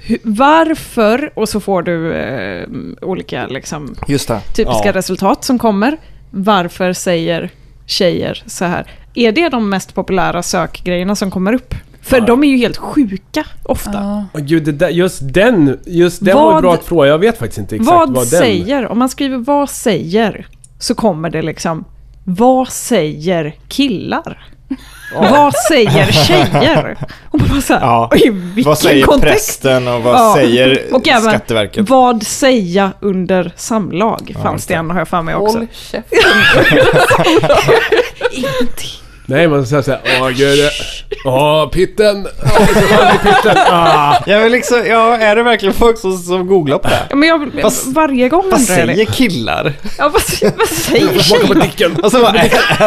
hu- varför, och så får du eh, olika liksom,
Just det.
typiska
Ja.
resultat som kommer. Varför säger tjejer så här? Är det de mest populära sökgrejerna som kommer upp? För
Ja.
de är ju helt sjuka ofta.
Åh, gud, det där, just den, just den var
Vad-
en bra fråga. Jag vet faktiskt inte exakt vad,
vad
den...
säger? Om man skriver vad säger så kommer det liksom vad säger killar? Vad säger tjejer? Och man bara så här,
Ja.
"Oj, vilken
Vad säger
kontext?
prästen och vad
Ja.
säger
Och även-
Skatteverket?
Vad säga under samlag? fanns det en, har jag för mig också.
Håll käften.
Nej, man säger såhär, åh gud, det- åh pitten, åh så fan i pitten, ah.
Jag vill liksom, ja, är det verkligen folk som, som googlar på det här?
Ja, Men jag,
Vad-
varje gång
Vad
undrar jag det.
säger killar?
Ja, vad, s-
[laughs]
vad säger
Smaka på
tjejer?
dicken.
Alltså bara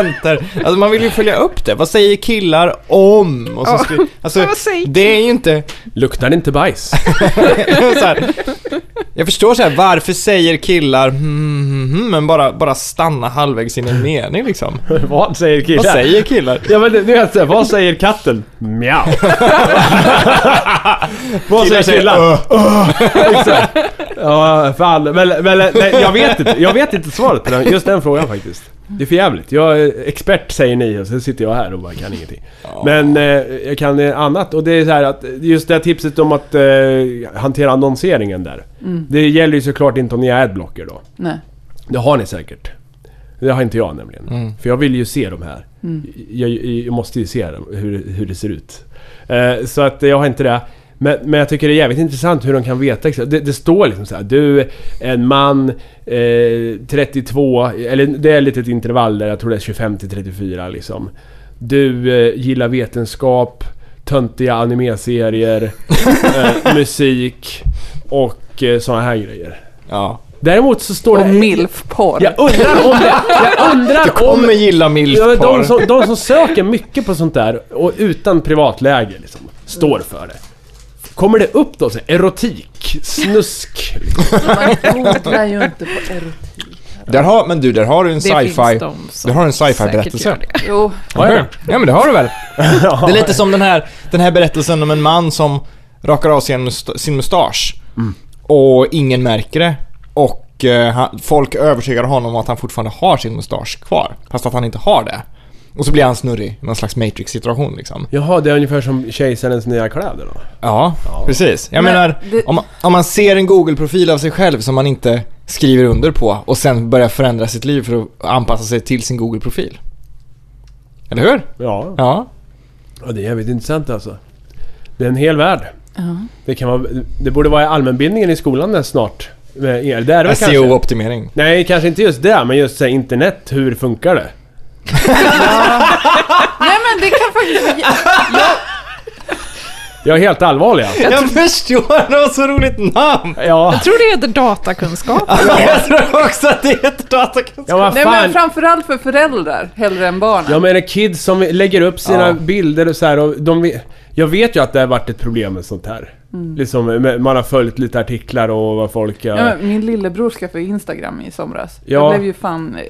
enter. Alltså man vill ju följa upp det. Vad säger killar om? Och så skri- alltså,
Vad säger
det är ju inte
Luktar det inte bajs?
[laughs] så här. Jag förstår så här, varför säger killar hmm, hmm, hmm, men bara, bara stanna halvvägs in i en mening liksom.
[laughs] vad säger killar?
Vad säger killar?
Ja men nu är jag såhär, vad säger katten? [laughs] Mjau. vad säger killar?
"Öh."
Exakt. Ja, fan. Men, men nej, jag vet inte. Jag vet inte svaret på den, just den frågan faktiskt. Det är för jävligt. Jag är expert säger ni och så sitter jag här och bara kan ingenting. Men eh, jag kan eh, annat och det är så här att just det här tipset om att eh, hantera annonseringen där. Det gäller ju såklart inte om ni är adblocker då.
Nej.
Det har ni säkert. Det har inte jag nämligen. För jag vill ju se de här. Jag, jag, jag måste ju se dem, hur, hur det ser ut. Eh, så att jag har inte det. Men, men jag tycker det är jävligt intressant hur de kan veta. exakt. Det, det står liksom så här. Du, en man, eh, 32, eller det är ett litet intervall där. Jag tror det är 25 till 34 liksom. Du eh, gillar vetenskap, töntiga animeserier, eh, musik och eh, sådana här grejer.
Ja.
Däremot så står
Och
det...
milfporr.
Jag undrar om det...
[laughs]
Jag
Du
undrar om...
kommer gilla
Ja, men de,
milfpar.
som, de som söker mycket på sånt där och utan privatläge liksom, står för det. Kommer det upp då så här, erotik, snusk?
Man googlar ju inte på erotik.
Där har, men du, där har du en
Det finns
sci-fi.
de som
Där har du en sci-fi
säkert
berättelse.
gör det.
Jo,
Ja, ja.
Ja men det har du [laughs] väl? Det är lite som den här, den här berättelsen om en man som rakar av sin, must- sin mustasch. Och ingen märker det. Och eh, han, folk övertygar honom om att han fortfarande har sin mustasch kvar. Fast att han inte har det. Och så blir han snurrig i någon slags matrix-situation liksom.
Jaha, det är ungefär som kejsarens nya kläder då?
Ja, precis. Jag
Men
menar,
det-
om, man, om man ser en Google-profil av sig själv som man inte skriver under på och sen börjar förändra sitt liv för att anpassa sig till sin Google-profil. Eller hur?
Ja.
Ja.
ja, det är jävligt intressant alltså. Det är en hel värld. Det, kan vara, det borde vara i allmänbildningen i skolan där snart. Med el. Det är det väl
E
kanske.
SEO-optimering.
Nej, kanske inte just det, men just så här, internet, hur funkar det?
nej men det kan faktiskt...
Jag är helt allvarlig alltså.
Jag förstår, det var så roligt namn!
Ja.
Jag tror det heter datakunskap.
Jag tror också att det heter datakunskap.
Ja, vad
Nej
fan.
men framförallt för föräldrar hellre än barnen.
Jag menar kids som lägger upp sina
Ja.
bilder och så här, och de, vet- Jag vet ju att det har varit ett problem med sånt här. Liksom, med- man har följt lite artiklar och vad folk...
Ja,
Ja,
men min lillebror skaffade ju Instagram i somras.
Ja.
Jag blev ju fan eh,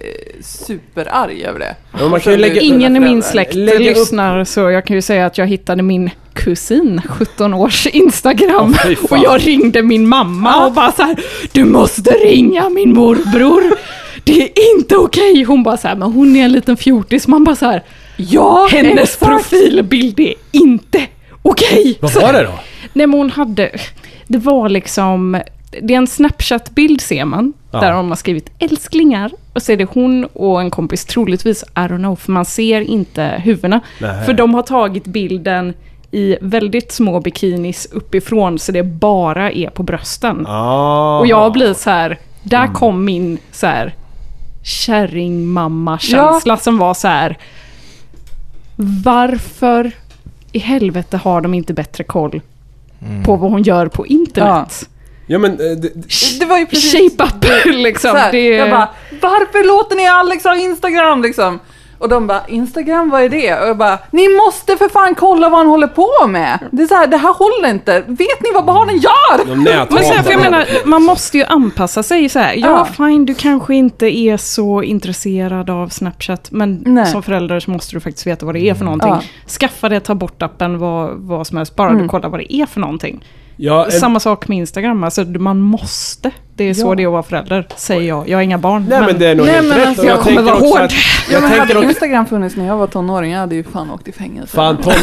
superarg över det. Alltså,
men man kan ju lägga...
Ingen i min
Föräldrar.
släkt
Lägg upp-
lyssnar så jag kan ju säga att jag hittade min kusin, 17 års Instagram.
Åh, fy fan.
och jag ringde min mamma och bara så här, du måste ringa min morbror. Det är inte okej. Hon bara så här, men hon är en liten fjortis. Man bara så här,
Ja,
hennes profilbild är inte okej.
Vad
Så-
var det då?
Nej men hon hade, det var liksom
det är en Snapchat-bild ser man.
Ja.
Där de har skrivit älsklingar. Och så är det hon och en kompis, troligtvis, I don't know, för man ser inte huvudena.
Nej.
För de har tagit bilden i väldigt små bikinis uppifrån så det bara är på brösten.
Ah.
Och jag blir så här, där kom min så här kärringmamma-känsla som var så här. Varför i helvete har de inte bättre koll på vad hon gör på internet?
Ja men... eh, Det, det,
Det var ju precis...
Shape up [laughs] liksom.
Så här,
det,
Jag bara, varför låter ni Alex ha Instagram liksom? Och de bara, Instagram vad är det? Och jag bara, ni måste för fan kolla vad han håller på med! Det är så här, det här håller inte! Vet ni vad
Mm.
barnen gör?
de
men så här, för jag
näthatar.
menar, man måste ju anpassa sig så här. Ja,
Ja.
fine, du kanske inte är så intresserad av Snapchat, men
Nej.
som förälder så måste du faktiskt veta vad det är för någonting.
Ja. Mm.
Skaffa det, ta bort appen, vad, vad som helst, bara du kollar vad det är för någonting.
Ja, eh, en-
Samma sak med Instagram, alltså man måste. Det är så det är att vara förälder, säger jag. Jag har inga barn.
Nej men det är nog
Nej,
helt
men
rätt.
alltså,
Och
jag kommer
tänker
vara
också
hård.
att-
Ja,
Jag
men
tänker
hade
också...
Instagram funnits när jag var tonåring, jag hade ju fan åkt i fängelse.
Fan tonåring.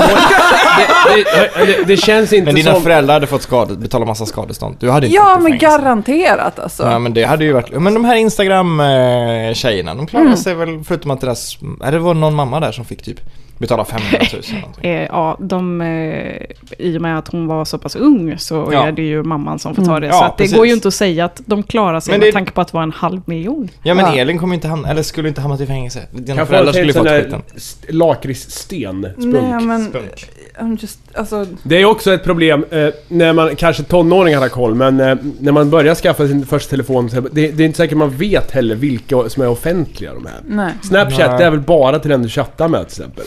Det, det, det, det känns inte
Men dina
som...
föräldrar hade fått skade, betala massa skadestånd. Du hade inte
Ja
fått
men
fängelse.
garanterat alltså.
Ja men det hade ju varit, men de här Instagram-tjejerna, de
Mm.
klarade sig väl förutom att deras, nej, det var någon mamma där som fick typ betala 500 000 [laughs] eller någonting.
Eh, ja, de, eh, I och med att hon var så pass ung så
Ja.
är det ju mamman som
Mm.
får ta det.
Ja,
så att det
precis.
går ju inte att säga att de klarar sig
Men det-
med tanke på att det var en halv
[laughs]
miljon.
Ja men
Ja.
Elin kommer inte hamna, eller skulle inte hamna i fängelse. Dina
Kan
föräldrar
folk
skulle
tänka
ju fått
sån
skiten.
där st- lakritssten? Spunk.
Nej men,
Spunk.
I'm just, alltså,
Det är också ett problem eh, när man, kanske tonåringar har koll, men eh, när man börjar skaffa sin första telefon så det, det är inte säkert man vet heller vilka som är offentliga de här.
nej.
Snapchat,
Nej.
det är väl bara till den du chattar med till exempel?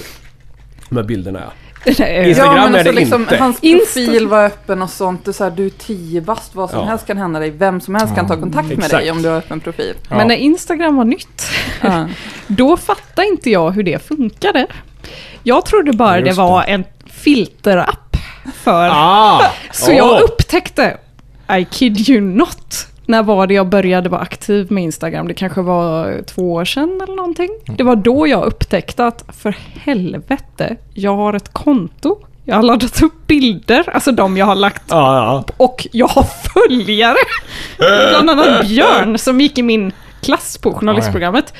De här bilderna ja.
Ja,
Eh,
Instagram
men
är
alltså,
det
liksom,
inte.
Hans
Insta-
profil var öppen och sånt. Du, så här, du är tio bast, vad som
Ja.
helst kan hända dig. Vem som helst kan ta kontakt med
Exakt.
dig om du har öppen profil.
Ja.
Men när Instagram var nytt,
[laughs]
[laughs]
Ja.
då fattade inte jag hur det funkade. Jag trodde bara det var en filterapp för...
Ah!
Så
Åh!
jag upptäckte, I kid you not, när var det jag började vara aktiv med Instagram? Det kanske var två år sedan eller någonting. Det var då jag upptäckte att, för helvete, jag har ett konto. Jag har laddat upp bilder, alltså de jag har lagt
Ja, ja.
och jag har följare. Bland annat Björn som gick i min klass på journalistprogrammet.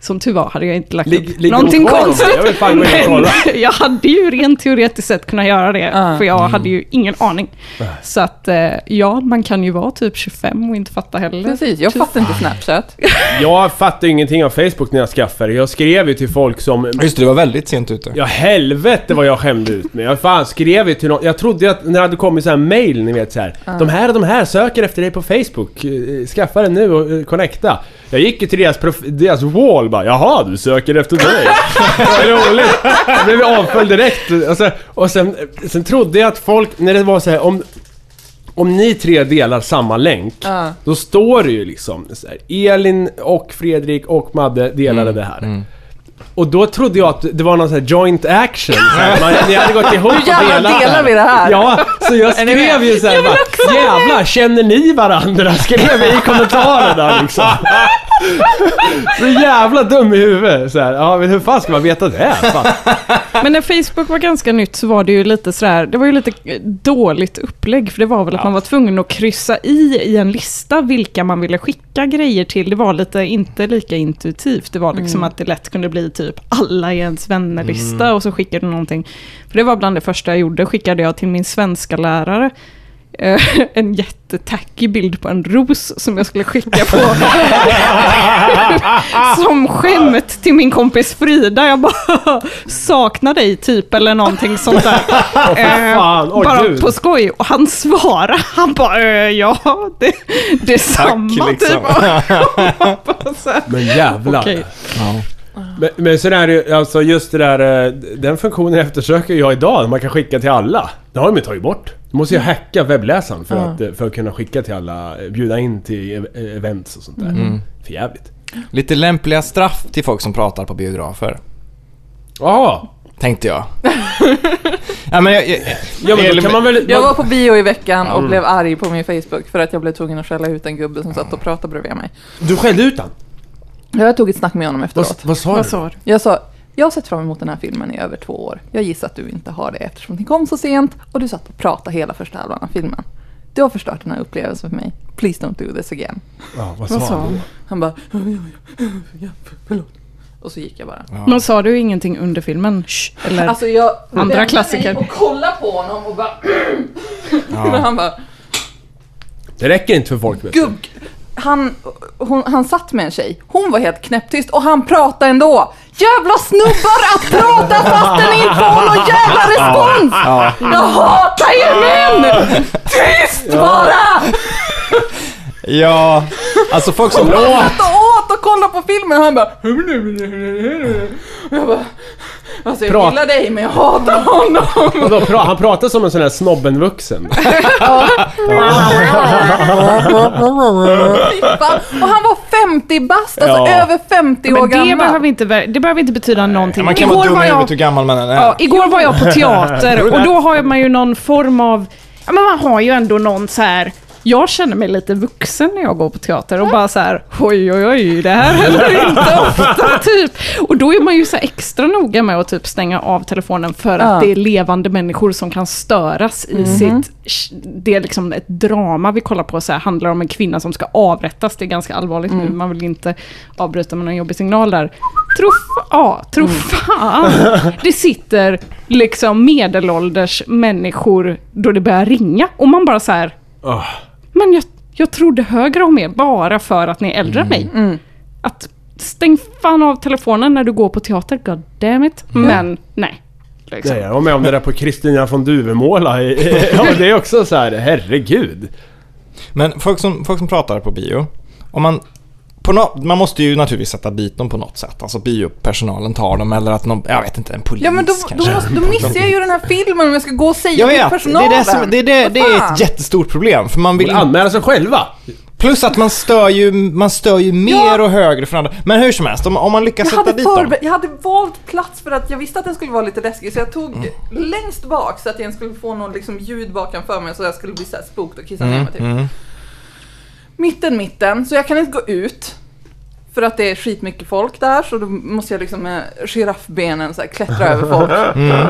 Som tur var hade jag inte lagt
Ligg-
upp
ligger
någonting
hon kvar då?
konstigt.
Jag vill fan gå in och kolla.
[laughs]
Mm.
jag hade ju rent teoretiskt sett kunnat göra det.
Ja.
För jag hade ju ingen aning.
Ah.
Så att eh, ja, man kan ju vara typ 25 och inte fatta heller.
Precis, jag fattar inte Snapchat.
Jag fattade ju ingenting av Facebook när jag skaffade Jag skrev ju till folk som...
Just det, du var väldigt sent ute.
Ja helvete vad jag skämde ut mig. Jag fan skrev ju till någon. Jag trodde ju att när det hade kommit så här mail, ni vet så här. De här och de här söker efter dig på Facebook. Eh, Skaffa den nu och eh, connecta. Jag gick ju till deras, prof- deras wall bara. Jaha, du söker efter dig. Vad roligt. Jag blev avföljd direkt. Alltså, och sen, sen trodde jag att folk, när det var så här om... Om ni tre delar samma länk,
Ja.
då står det ju liksom så här, Elin och Fredrik och Madde delade det här. Och då trodde jag att det var någon sån här joint action. Så här. Man, ni hade gått ihop och
jävlar
delat
delar vi det här?
Ja, så jag skrev ju såhär bara, jävlar känner ni varandra? Skrev jag i kommentarerna liksom. Så jävla dum i huvudet. Så här. Ja, men hur fan ska man veta det? Fan.
Men när Facebook var ganska nytt så var det ju lite sådär, det var ju lite eh, dåligt upplägg för det var väl att man var tvungen att kryssa i i en lista vilka man ville skicka grejer till. Det var lite inte lika intuitivt. Det var liksom att det lätt kunde bli typ alla i ens vännerlista och så skickade du någonting. För det var bland det första jag gjorde, skickade jag till min svenska lärare eh, en jättetackig bild på en ros som jag skulle skicka
[laughs]
på som skämt till min kompis Frida. Jag bara saknar dig typ eller någonting sånt där. Eh,
fan. Åh,
bara
Gud.
på skoj. Och han svarar. Han bara eh, ja, det, det är samma
liksom.
typ. Och så här,
Men jävlar.
Okej.
Men, men sådär, är det ju, alltså just det där, eh, den funktionen eftersöker jag idag, man kan skicka till alla. Det har de ju tagit bort. Du måste ju hacka webbläsaren för, att, eh, för att kunna skicka till alla, eh, bjuda in till ev- eh, events och sånt där. För jävligt.
Lite lämpliga straff till folk som pratar på biografer.
Jaha!
Tänkte
[laughs]
jag. ja, men jag, jag,
Ja men då
Elin-
kan man väl...
Jag var på bio i veckan
Mm.
och blev arg på min Facebook för att jag blev tvungen att skälla ut en gubbe som satt och pratade bredvid mig.
Du skällde ut han?
Jag tog ett snack med honom
Vad,
efteråt.
vad sa du?
Jag sa, jag har sett fram emot den här filmen i över två år. Jag gissar att du inte har det eftersom den kom så sent och du satt och pratade hela första halvan av filmen. Du har förstört den här upplevelsen för mig. please don't do this again.
Ja, vad
Vad sa
sa han?
hon?
Han bara, "Ja, ja, ja, ja, förlåt. Och så gick jag bara.
Men sa du ingenting under filmen? Shh, eller?
Alltså jag
Andra
vände
klassiker.
mig och kolla på honom och bara... [laughs] Men han bara,
Det räcker inte för folk vet du.
gubb... Han, hon, han satt med en tjej, hon var helt knäpptyst och han pratade ändå. Jävla snubbar att prata fastän ni inte får någon jävla respons! Jag hatar er män! Tyst bara!
Ja, alltså folk som...
Jag satt och åt och kollade på filmen och han bara... Jag bara... Alltså jag
Prat-
gillar dig men jag hatar honom.
[laughs]
Vadå, pra- han pratar som en sån här snobbenvuxen.
Va? Och han var 50 bast, alltså
Ja.
över 50 år
Men det
gammal.
behöver, inte, vä- det behöver inte betyda någonting.
Man kan vara dum i huvudet hur
jag,
gammal man än är.
ja, igår var jag på teater och då har man ju någon form av... Ja, men man har ju ändå någon så här... Jag känner mig lite vuxen när jag går på teater och bara så här, oj oj oj, det här händer inte ofta [laughs] typ. Och då är man ju så här extra noga med att typ stänga av telefonen för
Ja.
att det är levande människor som kan störas i sitt... Det är liksom ett drama vi kollar på, så här, handlar om en kvinna som ska avrättas. Det är ganska allvarligt nu, man vill inte avbryta med någon jobbig signal där. Tro, ja, tro fan. Det sitter liksom medelålders människor då det börjar ringa och man bara så här,
Ah.
men jag, jag trodde högre om er bara för att ni är äldre än mig. Att stäng fan av telefonen när du går på teater, god damn it. Men nej. Liksom.
Nej, jag var med om det där på Kristina från Duvemåla. [laughs] Ja, men det är också så här, herregud.
Men folk som, folk som pratar på bio, om man, på nå- man måste ju naturligtvis sätta dit dem på något sätt. Alltså biopersonalen tar dem eller att någon, jag vet inte, en polis
Ja men då, då,
kanske.
måste, då missar jag ju den här filmen om jag ska gå och säga
jag
till
vet, det
personalen.
är, det, som, det, är det, det
Vad
är
fan?
ett jättestort problem. För man vill
Vill
in,
anmäla sig själva.
plus att man stör ju, man stör ju mer och högre för andra. Men hur som helst, om, om man lyckas
Jag
sätta
hade,
dit dem.
förbe- jag hade valt plats för att jag visste att den skulle vara lite läskig så jag tog
Mm.
längst bak så att jag inte skulle få någon liksom ljud bakanför mig så jag skulle bli så här spooked och kissa
Mm,
ner mig typ. Mitten, mitten, så jag kan inte gå ut. För att det är skitmycket folk där så då måste jag liksom med giraffbenen så här klättra över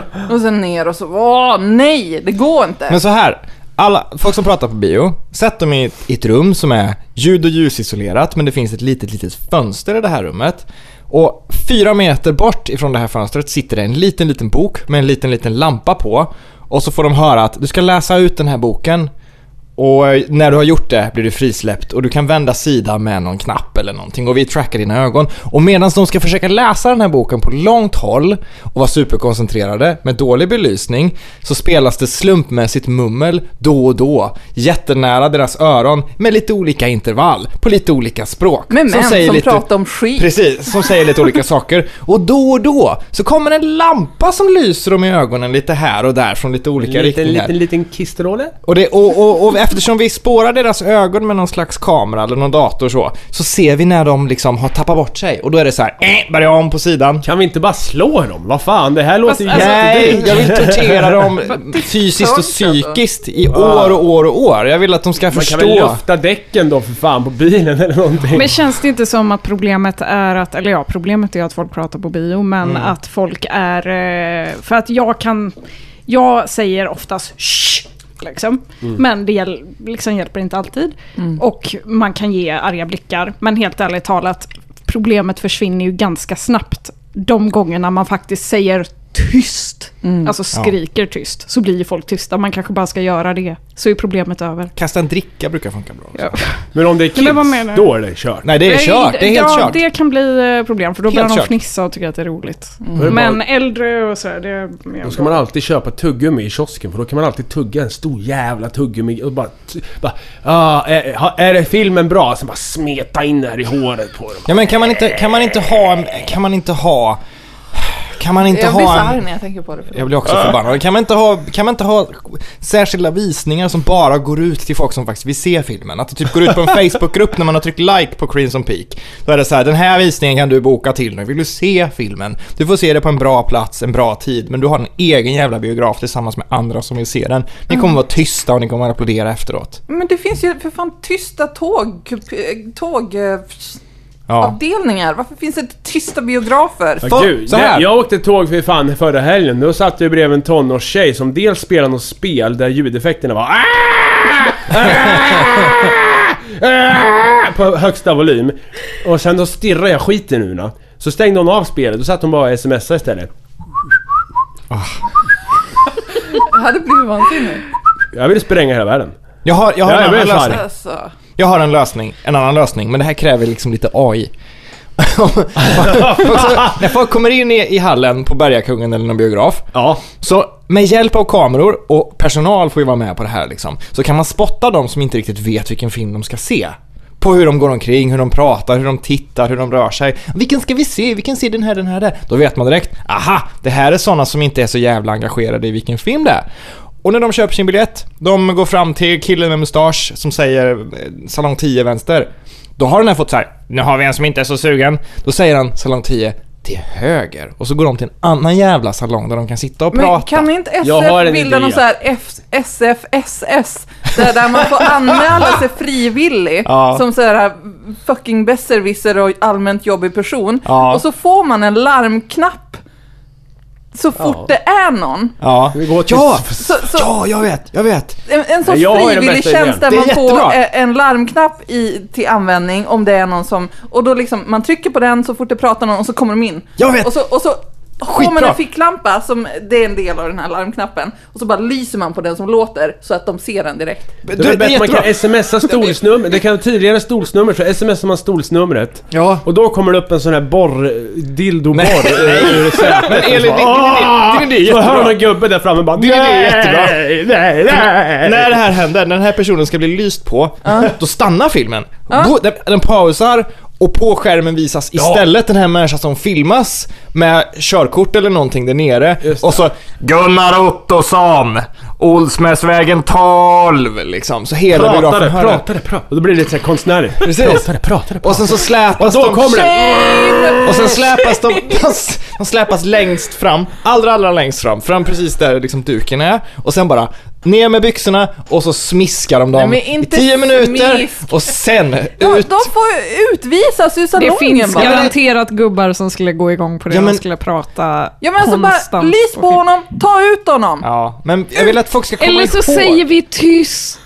[laughs]
folk. Och sen ner och så, åh nej, det går inte.
Mm. Men så här, alla, folk som pratar på bio, sätt dem i ett, i ett rum som är ljud och ljusisolerat men det finns ett litet, litet fönster i det här rummet. Och fyra meter bort ifrån det här fönstret sitter det en liten, liten bok med en liten, liten lampa på. Och så får de höra att du ska läsa ut den här boken och eh, när du har gjort det blir du frisläppt och du kan vända sida med någon knapp eller någonting och vi trackar dina ögon. Och medan de ska försöka läsa den här boken på långt håll och vara superkoncentrerade med dålig belysning så spelas det slumpmässigt mummel då och då jättenära deras öron med lite olika intervall på lite olika språk.
Med män som,
lite-
pratar om skit.
Precis, som säger lite
[laughs]
olika saker. Och då och då så kommer en lampa som lyser dem i ögonen lite här och där från lite olika
Liten,
riktningar.
liten, liten kistrolle.
Och, det, och, och, och eftersom vi spårar deras ögon med någon slags kamera eller någon dator så, så ser vi när de liksom har tappat bort sig. Och då är det så här, eh, börja om på sidan.
Kan vi inte bara slå dem? Vad fan, det här låter ju
alltså,
Nej,
jättedyrt.
jag vill tortera dem fysiskt och psykiskt i år och år och år. Jag vill att de ska
Man kan väl
förstå.
lufta däcken då för fan på bilen eller någonting.
Men känns det inte som att problemet är att, eller ja, problemet är att folk pratar på bio, men att folk är... eh, För att jag kan... Jag säger oftast shh, liksom. Men det hjäl, liksom hjälper inte alltid. Och man kan ge arga blickar. Men helt ärligt talat, problemet försvinner ju ganska snabbt. De gångerna man faktiskt säger tyst, alltså skriker tyst, så blir ju folk tysta. Man kanske bara ska göra det, så är problemet över.
Kasta en dricka brukar funka bra. också.
Men om det är kids,
men vad menar du?
då är det kört.
Nej, det är kört. Det är helt
ja,
kört.
det kan bli eh, problem för då
Helt
börjar de
kört. Mm.
fnissa och tycka att det är roligt.
Då är det
Men
bara-
äldre och sådär, det... är-
Då ska man alltid köpa tuggummi i kiosken för då kan man alltid tugga en stor jävla tuggummi och bara... t- bara ah, är, ha- är det filmen bra? Sen bara smeta in det här i håret på dem.
Ja, men kan man inte, kan man inte ha en, kan man inte ha, kan man inte
jag blir så
ha
arg
en...
när jag tänker på det.
Jag blir också förbannad. Kan man, inte ha, kan man inte ha särskilda visningar som bara går ut till folk som faktiskt vill se filmen? Att det typ går ut på en
[laughs]
Facebookgrupp när man har tryckt like på Crimson Peak. Då är det så här, den här visningen kan du boka till nu. Vill du se filmen? Du får se det på en bra plats, en bra tid, men du har en egen jävla biograf tillsammans med andra som vill se den. Ni
Mm.
kommer vara tysta och ni kommer applådera efteråt.
Men det finns ju för fan tysta tåg, eh, tågavdelningar.
Ja.
Varför finns det inte tysta biografer?
Ja,
Fan,
gud.
så här.
Jag, jag åkte tåg för fan förra helgen. Då satt jag bredvid en tonårstjej som dels spelade något spel där ljudeffekterna var "Ah!" "Aah!" [laughs] På högsta volym. Och sen då stirrade jag skiten ur henne. Så stängde hon av spelet, då satt hon bara och smsade istället.
Jag hade blivit vansinnig.
Jag ville spränga hela världen.
Jag har, jag, har
Ja, jag
en
blir
annan
så arg.
lösning.
Alltså.
jag har en lösning, en annan lösning, men det här kräver liksom lite [laughs] AI. folk, så- när folk kommer in i, i hallen på Bergakungen eller någon biograf,
Ja.
så med hjälp av kameror, och personal får ju vara med på det här liksom, så kan man spotta de som inte riktigt vet vilken film de ska se. På hur de går omkring, hur de pratar, hur de tittar, hur de rör sig. Vilken ska vi se? Vi kan se den här, den här, där. Då vet man direkt, aha, det här är sådana som inte är så jävla engagerade i vilken film det är. Och när de köper sin biljett, de går fram till killen med mustasch som säger eh, salong 10 vänster. Då har den här fått så här, nu har vi en som inte är så sugen. Då säger han salong 10 till höger. Och så går de till en annan jävla salong där de kan sitta och
Men
prata.
kan inte
Jag har
SF
en
bilda
idé.
någon sån här F- SFSS? Där, där man får anmäla sig frivillig
Ja.
som så här fucking besserwisser och allmänt jobbig person.
Ja.
Och så får man en larmknapp så fort det är någon.
Ja.
Vi går till-
ja.
Så, så
ja, jag vet, jag vet.
en, en sorts
Jag har den
frivillig
bästa
tjänst där
idén.
man
Det är
får
jättebra.
eh, en larmknapp i, till användning om det är någon som... Och då liksom, man trycker på den så fort det pratar någon och så kommer de in.
Jag vet.
Och så, och så har man
Skitbra.
en ficklampa som det är en del av den här larmknappen. Och så bara lyser man på den som låter så att de ser den direkt.
Du,
Det är väl
det är
bättre man
jättebra.
kan smsa stolsnummer, det kan vara tydligare stolsnummer så smsar man stolsnumret.
Ja.
Och då kommer det upp en sån här borr... Dildoborr. eh,
Men Elin, din,
Liksom.
din,
Ah!
din, din idé är
Så hör man
jättebra.
en gubbe där framme bara
Din idé är jättebra.
Nej, nej, nej.
När det här händer, när den här personen ska bli lyst på, då stannar filmen. Då, den, den pausar och på skärmen visas istället den här människan som filmas med körkort eller någonting där nere. Och så Gunnar Ottosson, Olsmäsvägen 12 liksom. Så hela
Pratade,
biografen hör det.
pratade, pratade. Och då blir det lite så här konstnärligt.
Precis.
pratade,
Och sen så släpas
Och då
de...
kommer det.
Och sen släpas de, [laughs] de, de släpas längst fram, allra allra längst fram, fram precis där liksom duken är och sen bara ner med byxorna och så smiskar de dem
Nej, men inte
i 10 minuter
smisk.
och sen ut.
De, de får ju utvisas ur
Det
salongen
finns
bara.
garanterat gubbar som skulle gå igång på det
Ja,
och
men-
skulle prata
Ja men alltså bara,
konstant
lys på
film.
honom, ta ut honom.
Ja, men jag vill att folk ska komma
Eller så
ihåg.
säger vi tyst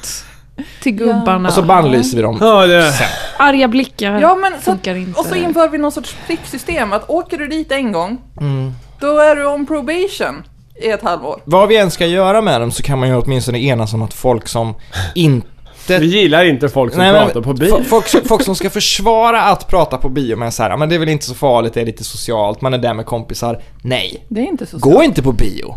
till gubbarna.
Alltså
Och så bannlyser vi dem.
Ja, det.
Arga blickar
Ja, men så,
funkar inte.
Och så inför vi någon sorts pricksystem att åker du dit en gång,
Mm.
då är du on probation i ett halvår.
Vad vi än ska göra med dem så kan man ju åtminstone enas om att folk som inte...
Vi gillar inte folk som
Nej, men
pratar på bil.
fo- Folk, folk som ska försvara att prata på bio med så här, "Ja, men det är väl inte så farligt, det är lite socialt, man är där med kompisar. Nej.
Det är inte så
Gå inte på bio.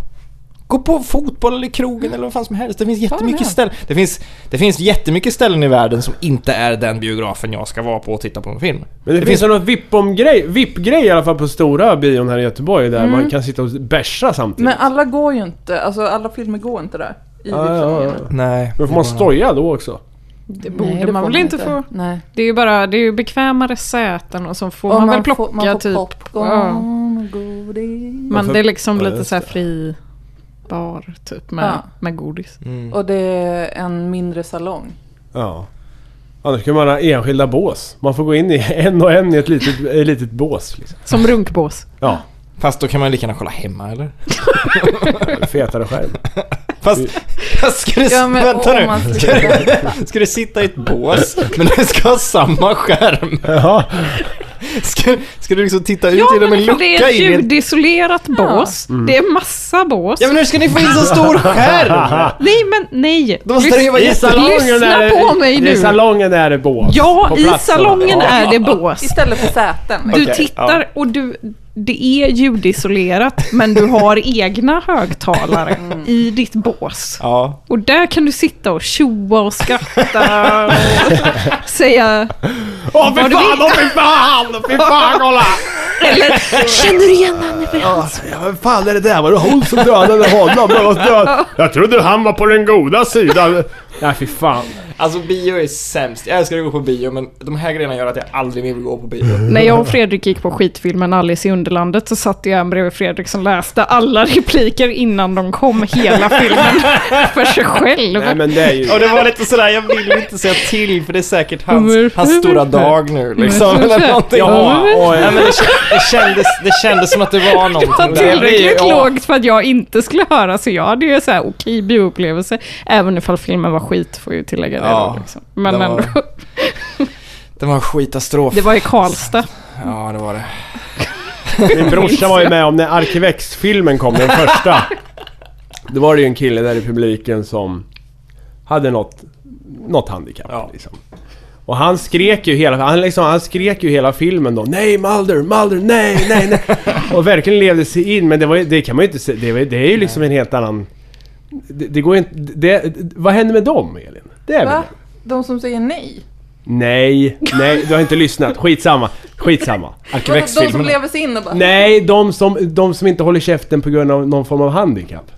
Gå på fotboll eller krogen eller vad fan som helst. Det finns jättemycket
med.
ställen. Det finns, det finns jättemycket ställen i världen som inte är den biografen jag ska vara på och titta på en film.
Men det, finns väl någon VIP-grej VIP i alla fall på stora bion här i Göteborg där man kan sitta och bärsa samtidigt.
Men alla går ju inte, alltså alla filmer går inte där. I
Ja, ja, ja.
Nej.
Men får man stoja då också?
det borde man väl inte få.
Nej.
Det är ju bara det är ju bekvämare säten och så får
Och
man, väl plocka
får, man får
typ.
popcorn
Ja.
och godis.
Men
får-
det är liksom
Ja,
lite
just
så här fri bar typ med,
Ja.
med godis.
Mm.
Och det är en mindre salong.
Ja. Annars kan man ha enskilda bås. Man får gå in i en och en i ett litet, ett litet bås. Liksom.
Som runkbås.
Ja,
Fast då kan man lika gärna kolla hemma eller?
fetare skärm.
Fast, fast ska, du,
Ja, men
vänta
om
nu.
man
ska, du, ska du sitta i ett bås men du ska ha samma skärm?
Ja.
Ska, ska du liksom titta ut
Ja,
genom en
men det är
lucka
ett
in i ett...
ljudisolerat bås. Det är massa bås.
Ja men hur ska ni få in så stor [laughs] skärm?
Nej, men nej.
Då måste det ju vara
Lys-
I salongen
Lyssna
är det,
på mig nu.
I salongen är det bås.
Ja,
På
i
platsen.
salongen
Ja.
är det bås.
Istället för säten.
Du
liksom.
tittar och du, det är ljudisolerat men du har egna högtalare
Mm.
i ditt bås.
Ja.
Och där kan du sitta och tjoa och skratta och [laughs] säga...
Åh fy
Vad du
fan,
vill.
åh fy fan, åh fy fan, kolla!
Eller, känner du igen henne? vid hans-"
Ja, vad fan är det där? Var det hon som dödade honom? Jag, var död. jag trodde han var på den goda sidan. Nej fy fan.
Alltså bio är sämst. Jag älskar att gå på bio men de här grejerna gör att jag aldrig mer vill gå på bio.
När jag och Fredrik gick på skitfilmen Alice i Underlandet så satt jag en bredvid Fredrik som läste alla [laughs] repliker innan de kom
[laughs]
hela filmen för sig själv.
Nej men det är ju...
Och det var lite sådär, jag vill inte säga till för det är säkert hans, hans stora dag nu liksom.
Mm.
Eller någonting.
Jaha, oj.
Nej, men det, kä- det, kändes, det kändes som att det var någonting
var tillräckligt lågt för att jag inte skulle höra, så ja, det är så här okej bioupplevelse. Även ifall filmen var skit, får jag ju tillägga det
Ja,
då, liksom. Men
den var-
ändå. [laughs]
Det var en skitastrof.
Det var i Karlstad.
Ja, det var det.
Min brorsa var ju med om när Arkivex-filmen kom, den första. Då var det ju en kille där i publiken som hade något, något handikapp. Liksom. Och han skrek ju hela, han liksom, han skrek ju hela filmen då. Nej Mulder, Mulder, nej, nej, nej. Och verkligen levde sig in. Men det, var, ju- det kan man ju inte se. Det, var, ju- det är ju liksom en helt annan... Det, det går ju inte... Det, vad händer med dem Elin? Det är väl
Va? De som säger nej?
Nej, nej, du har inte lyssnat. Skitsamma, skitsamma.
De, de som
Arkivex-filmen.
lever sig in och bara...
Nej, de som, de som inte håller käften på grund av någon form av handikapp.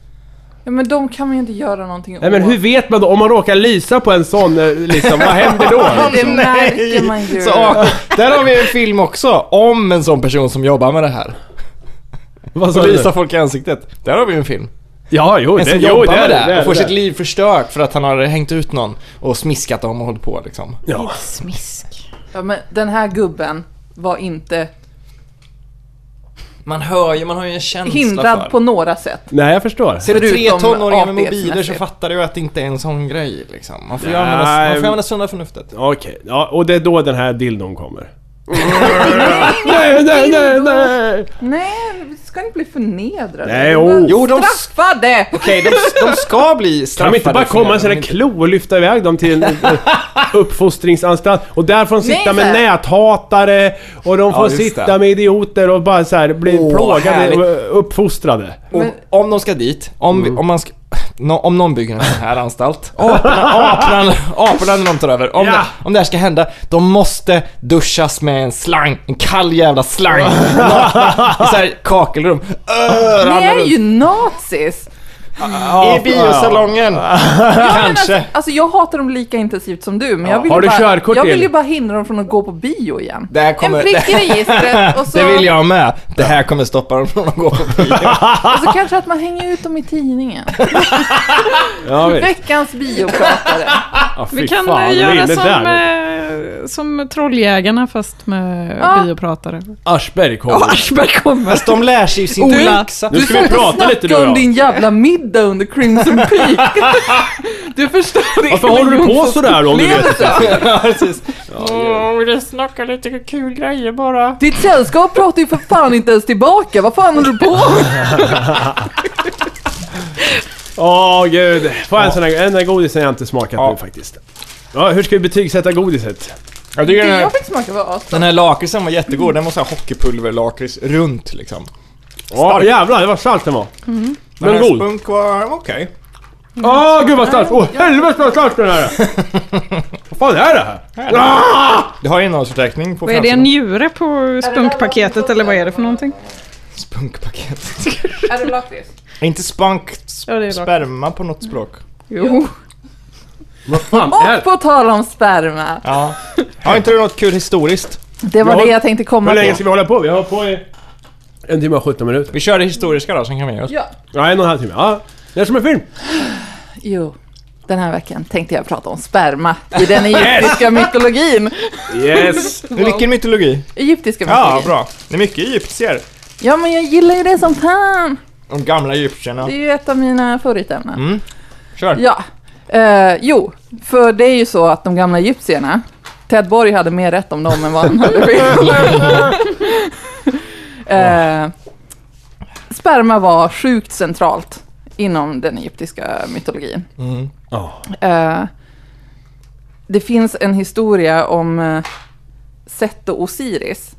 Ja, men de kan man ju inte göra någonting
Nej men hur vet man då? Om man råkar lysa på en sån, eh, liksom, vad händer då?
[laughs]
[laughs]
Det märker man ju.
Så, där har vi en film också, om en sån person som jobbar med det här.
Vad sa
Och
du?
visar folk i ansiktet. Där har vi en film.
Ja, jo,
En
det,
som
jo,
jobbar
det är
med det
det.
här
det,
och får
är
sitt
det.
liv förstört för att han har hängt ut någon och smiskat dem och hållit på liksom.
Ja.
Smisk.
Ja, men den här gubben var inte
Man hör ju, man har ju en känsla för.
hindrad på några sätt.
Nej, jag förstår.
Ser du tre
förutom
tonåringar med mobiler så
APS-mässigt.
fattar du att det inte är en sån grej liksom. Man får ju
Nej,
använda, man får
men-
använda sunda förnuftet.
Okej, ja, och det är då den här dildon kommer. [laughs] nej, nej, nej, nej!
Nej, vi ska inte bli förnedrade.
Nej,
Vi var
oh.
Jo, de-
Straffade!
Okej, de, de ska bli
Kan
straffade.
de inte bara
för
komma
det,
med
men
sina
inte-
klo och lyfta iväg dem till en
[laughs]
eh, uppfostringsanstalt? Och där får de
Nej,
sitta med
så här.
näthatare och de får
just
sitta
det.
med idioter och bara så här bli
Åh,
plågade
härligt.
och eh, uppfostrade.
Och
Men-
om de ska dit, om, vi, om man ska... Nå, om någon bygger en sån här anstalt, [laughs] aporna, aporna, aporna när de tar över. Om,
Ja.
det, om det här ska hända, de måste duschas med en slang. En kall jävla [laughs] slang. Nakna, I så här kakelrum. Öh,
Ni
ramlar
är
runt.
ju nazis!
I biosalongen. Kanske.
Alltså jag hatar dem lika intensivt som du, men jag vill,
Har
ju,
du
bara,
körkort
jag vill
till?
ju bara hindra dem från att gå på bio igen.
[laughs] Det här kommer-
En prick i registret och så,
Det vill jag med. Det här kommer stoppa dem från att gå på bio.
och så kanske att man hänger ut dem
[laughs]
i tidningen.
Ja, visst.
[laughs]
Veckans biopratare.
Ja,
Vi
fy
kan
fan,
eh,
vi är inne
göra som,
där.
eh, som trolljägarna fast med
Ja.
biopratare.
Aschberg kommer.
Aschberg
[laughs]
kommer.
Fast de lär sig ju sin
Ola.
läxa.
Nu ska vi prata lite du
Snacka om
och jag.
din jävla middag under Crimson Peak.
[laughs]
Du förstår det.
Varför håller [laughs] du på sådär om du vet?
[laughs] Ja, precis.
Åh, det snackar lite kul grejer bara.
Ditt sällskap pratar ju för fan inte ens tillbaka. Vad fan håller du på med?
Åh gud. Får jag en sån här, en där godisen jag inte smakat nu faktiskt. Ja, hur ska vi betygsätta godiset?
[laughs] Jag
Det
tycker den här,
jag fick smaka var as.
den här lakritsen var jättegod. Den var så här hockeypulverlakrits runt liksom.
Ja, jävlar, det var salt den var.
Den
Men
här
god.
spunk var okej.
Åh gud vad starkt! Åh helvete vad starkt den [laughs] här är! Vad fan är det här? Ah!
Det har innehållsförteckning på
Vad är det, en
framsidan.
njure på spunkpaketet eller vad är det för någonting?
Spunkpaket.
Är det lakrits?
Är inte spunk
Ja, det är bra.
sperma på något
[laughs]
språk?
Jo.
Vad fan är
Och
det?
på tal om sperma.
Ja. Har inte du något kul historiskt?
Det var
Jag-
det jag tänkte komma
Hur länge
på.
ska vi hålla på? Vi har hållit på i en timme och 17 minuter.
Vi kör det historiska då, sen kan vi ge oss.
Ja.
Nej, en och en halv timme. Ja, det är som en film.
Jo, den här veckan tänkte jag prata om sperma
[laughs]
i den egyptiska mytologin.
Yes!
Det är mycket mytologi.
Egyptiska mytologin.
Ja, bra. Det är mycket egyptier.
Ja, men jag gillar ju det som fan.
De gamla egyptierna.
Det är ju ett av mina favoritämnen.
Kör.
Ja, eh, jo, för det är ju så att de gamla egyptierna, Ted Borg hade mer rätt om dem än vad han
[laughs]
hade fel. eh, sperma var sjukt centralt inom den egyptiska mytologin.
Ja.
Eh, det finns en historia om eh, Set och Osiris.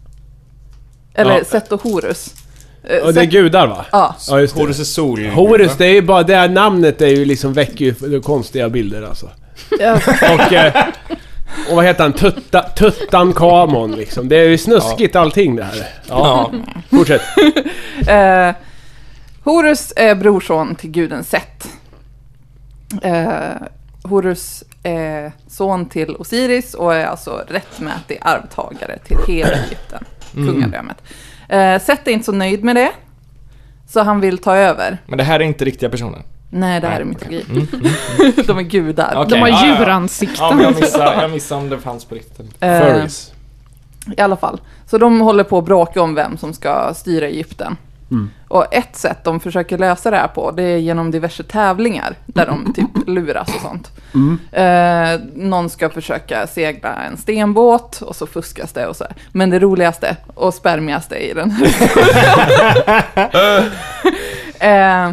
Eller
Ja.
Set och Horus. Eh,
Och det är
Set-
gudar va?
ja.
Ja, just det.
Horus är sol.
Horus, det är ju bara... Det här namnet är ju liksom, väcker ju konstiga bilder alltså.
Ja.
Och, eh, och vad heter han? Tutta, Tutankhamon liksom. Det är ju snuskigt allting det här.
Ja.
Fortsätt.
Eh, Horus är brorson till guden Set. Eh, Horus är son till Osiris och är alltså rättmätig arvtagare till hela Egypten, kungadömet. Eh, Set är inte så nöjd med det, så han vill ta över.
Men det här är inte riktiga personer.
Nej, det här är mytologi. [laughs] De är gudar.
Okej,
De har
ja, ja.
djuransikten.
Ja, men jag missade, jag missade om det fanns på riktigt.
Eh,
Furries.
I alla fall. Så de håller på att bråka om vem som ska styra Egypten. Och ett sätt de försöker lösa det här på, det är genom diverse tävlingar där de typ luras och sånt. Eh, någon ska försöka segla en stenbåt och så fuskas det och så här. Men det roligaste och spermigaste i den här [laughs] eh,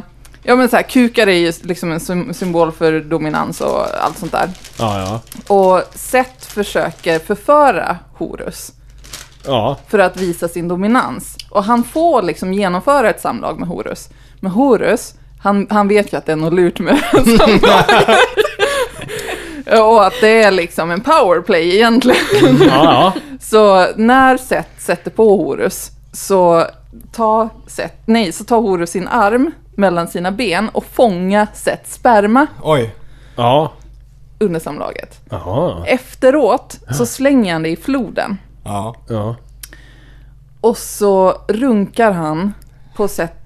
Ja men så här, kukar är ju liksom en sym- symbol för dominans och allt sånt där.
Ja, ja.
Och Seth försöker förföra Horus
Ja,
för att visa sin dominans. Och han får liksom genomföra ett samlag med Horus. Men Horus, han, han vet ju att det är något lurt med samlaget. Och att det är liksom en powerplay egentligen.
ja,
Så när Seth sätter på Horus så tar, Seth, nej, så tar Horus sin arm mellan sina ben och fångar Seths sperma
Oj.
ja.
under samlaget.
Jaha.
Efteråt så slänger han det i floden.
Ja.
Ja.
Och så runkar han på sätt,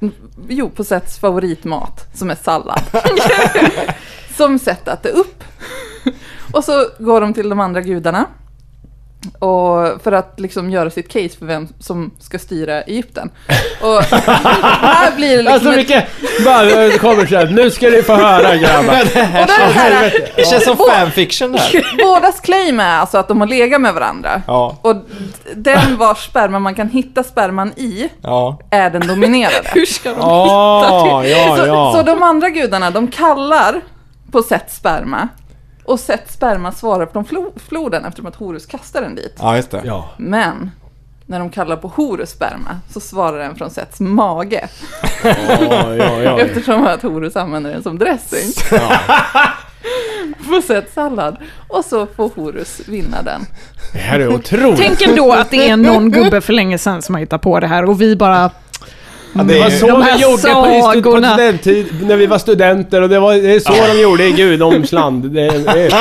jo, på sätts favoritmat som är sallad. som sätt att det upp. Och så går de till de andra gudarna. Och för att liksom göra sitt case för vem som ska styra Egypten. Och här blir det liksom...
Alltså
ett-
vilket... Bara, eh, det kommer så här, nu ska ni få
[laughs]
höra grabbar.
och då är det så här,
Det känns som fanfiction
[laughs]
det här.
Bådas claim är alltså att de har legat med varandra.
Ja.
Och d- den vars sperma man kan hitta sperman i
Ja.
är den dominerade.
Hur ska de...
Ja, ja,
så, så
Ah, ja.
de andra gudarna, de kallar på Sets sperma. Och Sets sperma svarar från flo- floden eftersom att Horus kastar den dit.
Ja, just det.
Ja.
Men när de kallar på Horus sperma så svarar den från Sets mage.
Oj, oj, oj.
Eftersom att Horus använder den som dressing.
[laughs]
[laughs] på Sets sallad. Och så får Horus vinna den.
Det här är otroligt.
Tänk ändå att det är någon gubbe för länge sedan som har hittat på det här och vi bara...
Mm,
Det var så
De
vi
här
gjorde på, i stud- på
sagorna.
studenttid, när vi var studenter och det var det är så de gjorde i Gudomsland. Det, det,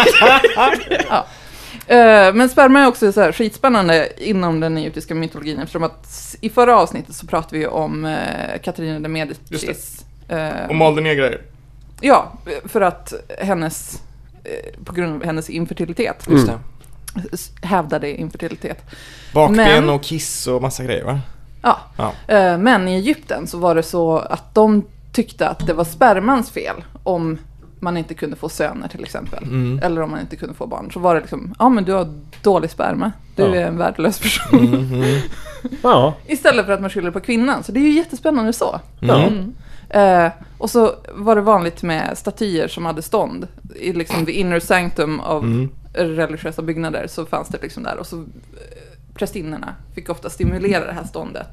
Eh, Men sperma är också så här skitspännande inom den egyptiska mytologin eftersom att s- i förra avsnittet så pratade vi om eh, Katarina de Medicis. eh,
Och malde ner grejer.
Ja, för att hennes, eh, på grund av hennes infertilitet,
Mm.
Just det.
s- hävdade infertilitet.
Bakben
Men-
och kiss och massa grejer va?
Ja.
Ja.
Eh, Men i Egypten så var det så att de tyckte att det var spermans fel om man inte kunde få söner till exempel. Eller om man inte kunde få barn. Så var det liksom, ja men du har dålig sperma. Du
Ja.
är en värdelös
[laughs]
person.
Mm-hmm.
ja.
Istället för att man skyller på kvinnan. Så det är ju jättespännande så.
Mm.
ja.
Eh, och så var det vanligt med statyer som hade stånd. I liksom the inner sanctum av
Mm.
religiösa byggnader så fanns det liksom där. Och så eh, prästinnorna fick ofta stimulera det här ståndet.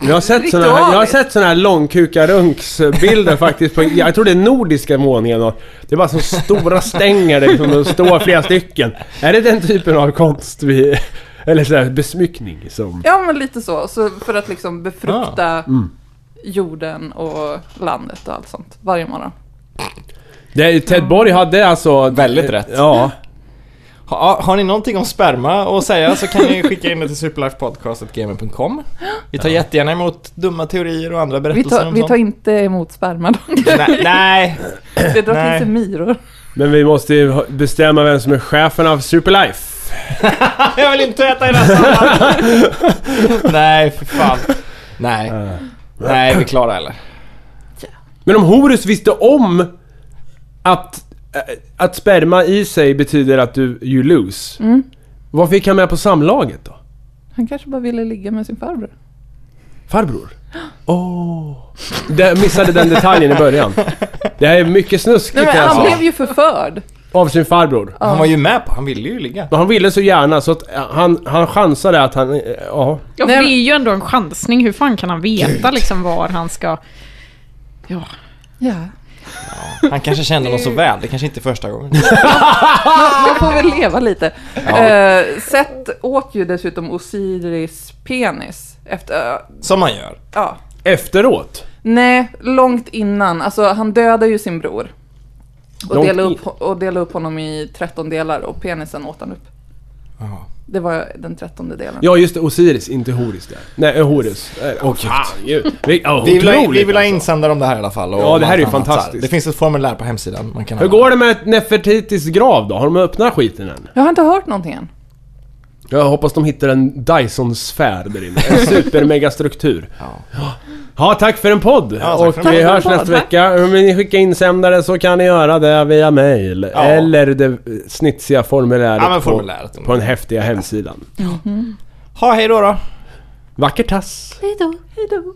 Jag har sett såna här, jag har sett såna här långkukarunksbilder faktiskt. På, jag tror det är nordiska måningen. och Det är bara så stora stänger där liksom, det står flera stycken. Är det den typen av konst vi... Eller sådär besmyckning som...
Ja men lite så, så för att liksom befrukta
Ah. Mm.
jorden och landet och allt sånt varje morgon.
Det, är- Ted Borg hade alltså...
Väldigt rätt.
Ja.
Ha, har ni någonting om sperma att säga så kan
[laughs]
ni skicka in det till superlifepodcast.gmail.com Vi tar jättegärna emot dumma teorier och andra
Vi
berättelser
tar,
om
vi
sånt.
tar inte emot
[laughs]
sperma då.
Nej, nej. [laughs]
Det drar
Nej.
till sig myror.
Men vi måste ju ha- bestämma vem som är chefen av Superlife.
jag vill inte äta i den här
[laughs]
Nej, för fan. Nej. Nej, är vi klara eller?
Men om Horus visste om att, äh, att sperma i sig betyder att du you lose.
Mm.
Vad fick han med på samlaget då?
Han kanske bara ville ligga med sin farbror. [gasps]
Farbror? Åh! Jag missade den detaljen i början. Det här är mycket
Nej,
snuskigt
men han
alltså.
blev ju förförd.
Av sin farbror.
Han var ju med på, han ville ju ligga.
Men han ville så gärna så att eh, han, han chansade att han... eh, Ja.
Nej,
Ja, för det
men-
är ju ändå en chansning. Hur fan kan han veta
Mm.
liksom var han ska... Ja.
Ja.
Han kanske kände någon så väl, det kanske inte är första gången.
[laughs] Man får väl leva lite. Eh, Seth åt ju dessutom Osiris penis efter... eh,
Som man gör.
ja.
Efteråt.
Nej, långt innan. Alltså, han dödade ju sin bror. Och
Långt
delade,
in-
upp, och delade upp honom i 13 delar och penisen åt han upp. Det var den trettonde delen.
Ja just det, Osiris, inte Horus där. Nej, eh, Horus. Åh oh, fan ju. Vi, oh,
Vi vill, ha, vi
otroligt,
vill ha
alltså.
insändare om det här i alla fall. och
Ja, det här
allt
är ju
annat så
fantastiskt.
Det finns ett formulär på hemsidan man kan
Hur går det med Nefertitis grav då? Har de öppnat skiten än?
Jag har inte hört någonting än.
Jag hoppas de hittar en Dyson-sfär där inne. En supermegastruktur.
[laughs] Ja.
Ja, tack för en podd!
tack
och
för en
vi
podd.
hörs
Tack för en
nästa
podd,
vecka. Om ni skickar insändare så kan ni göra det via mail. Eller det eh, snitsiga formuläret,
Ja, men
På,
formuläret.
på den häftiga hemsidan.
Ha hej då då.
Vacker tass!
Hej då. Hej då.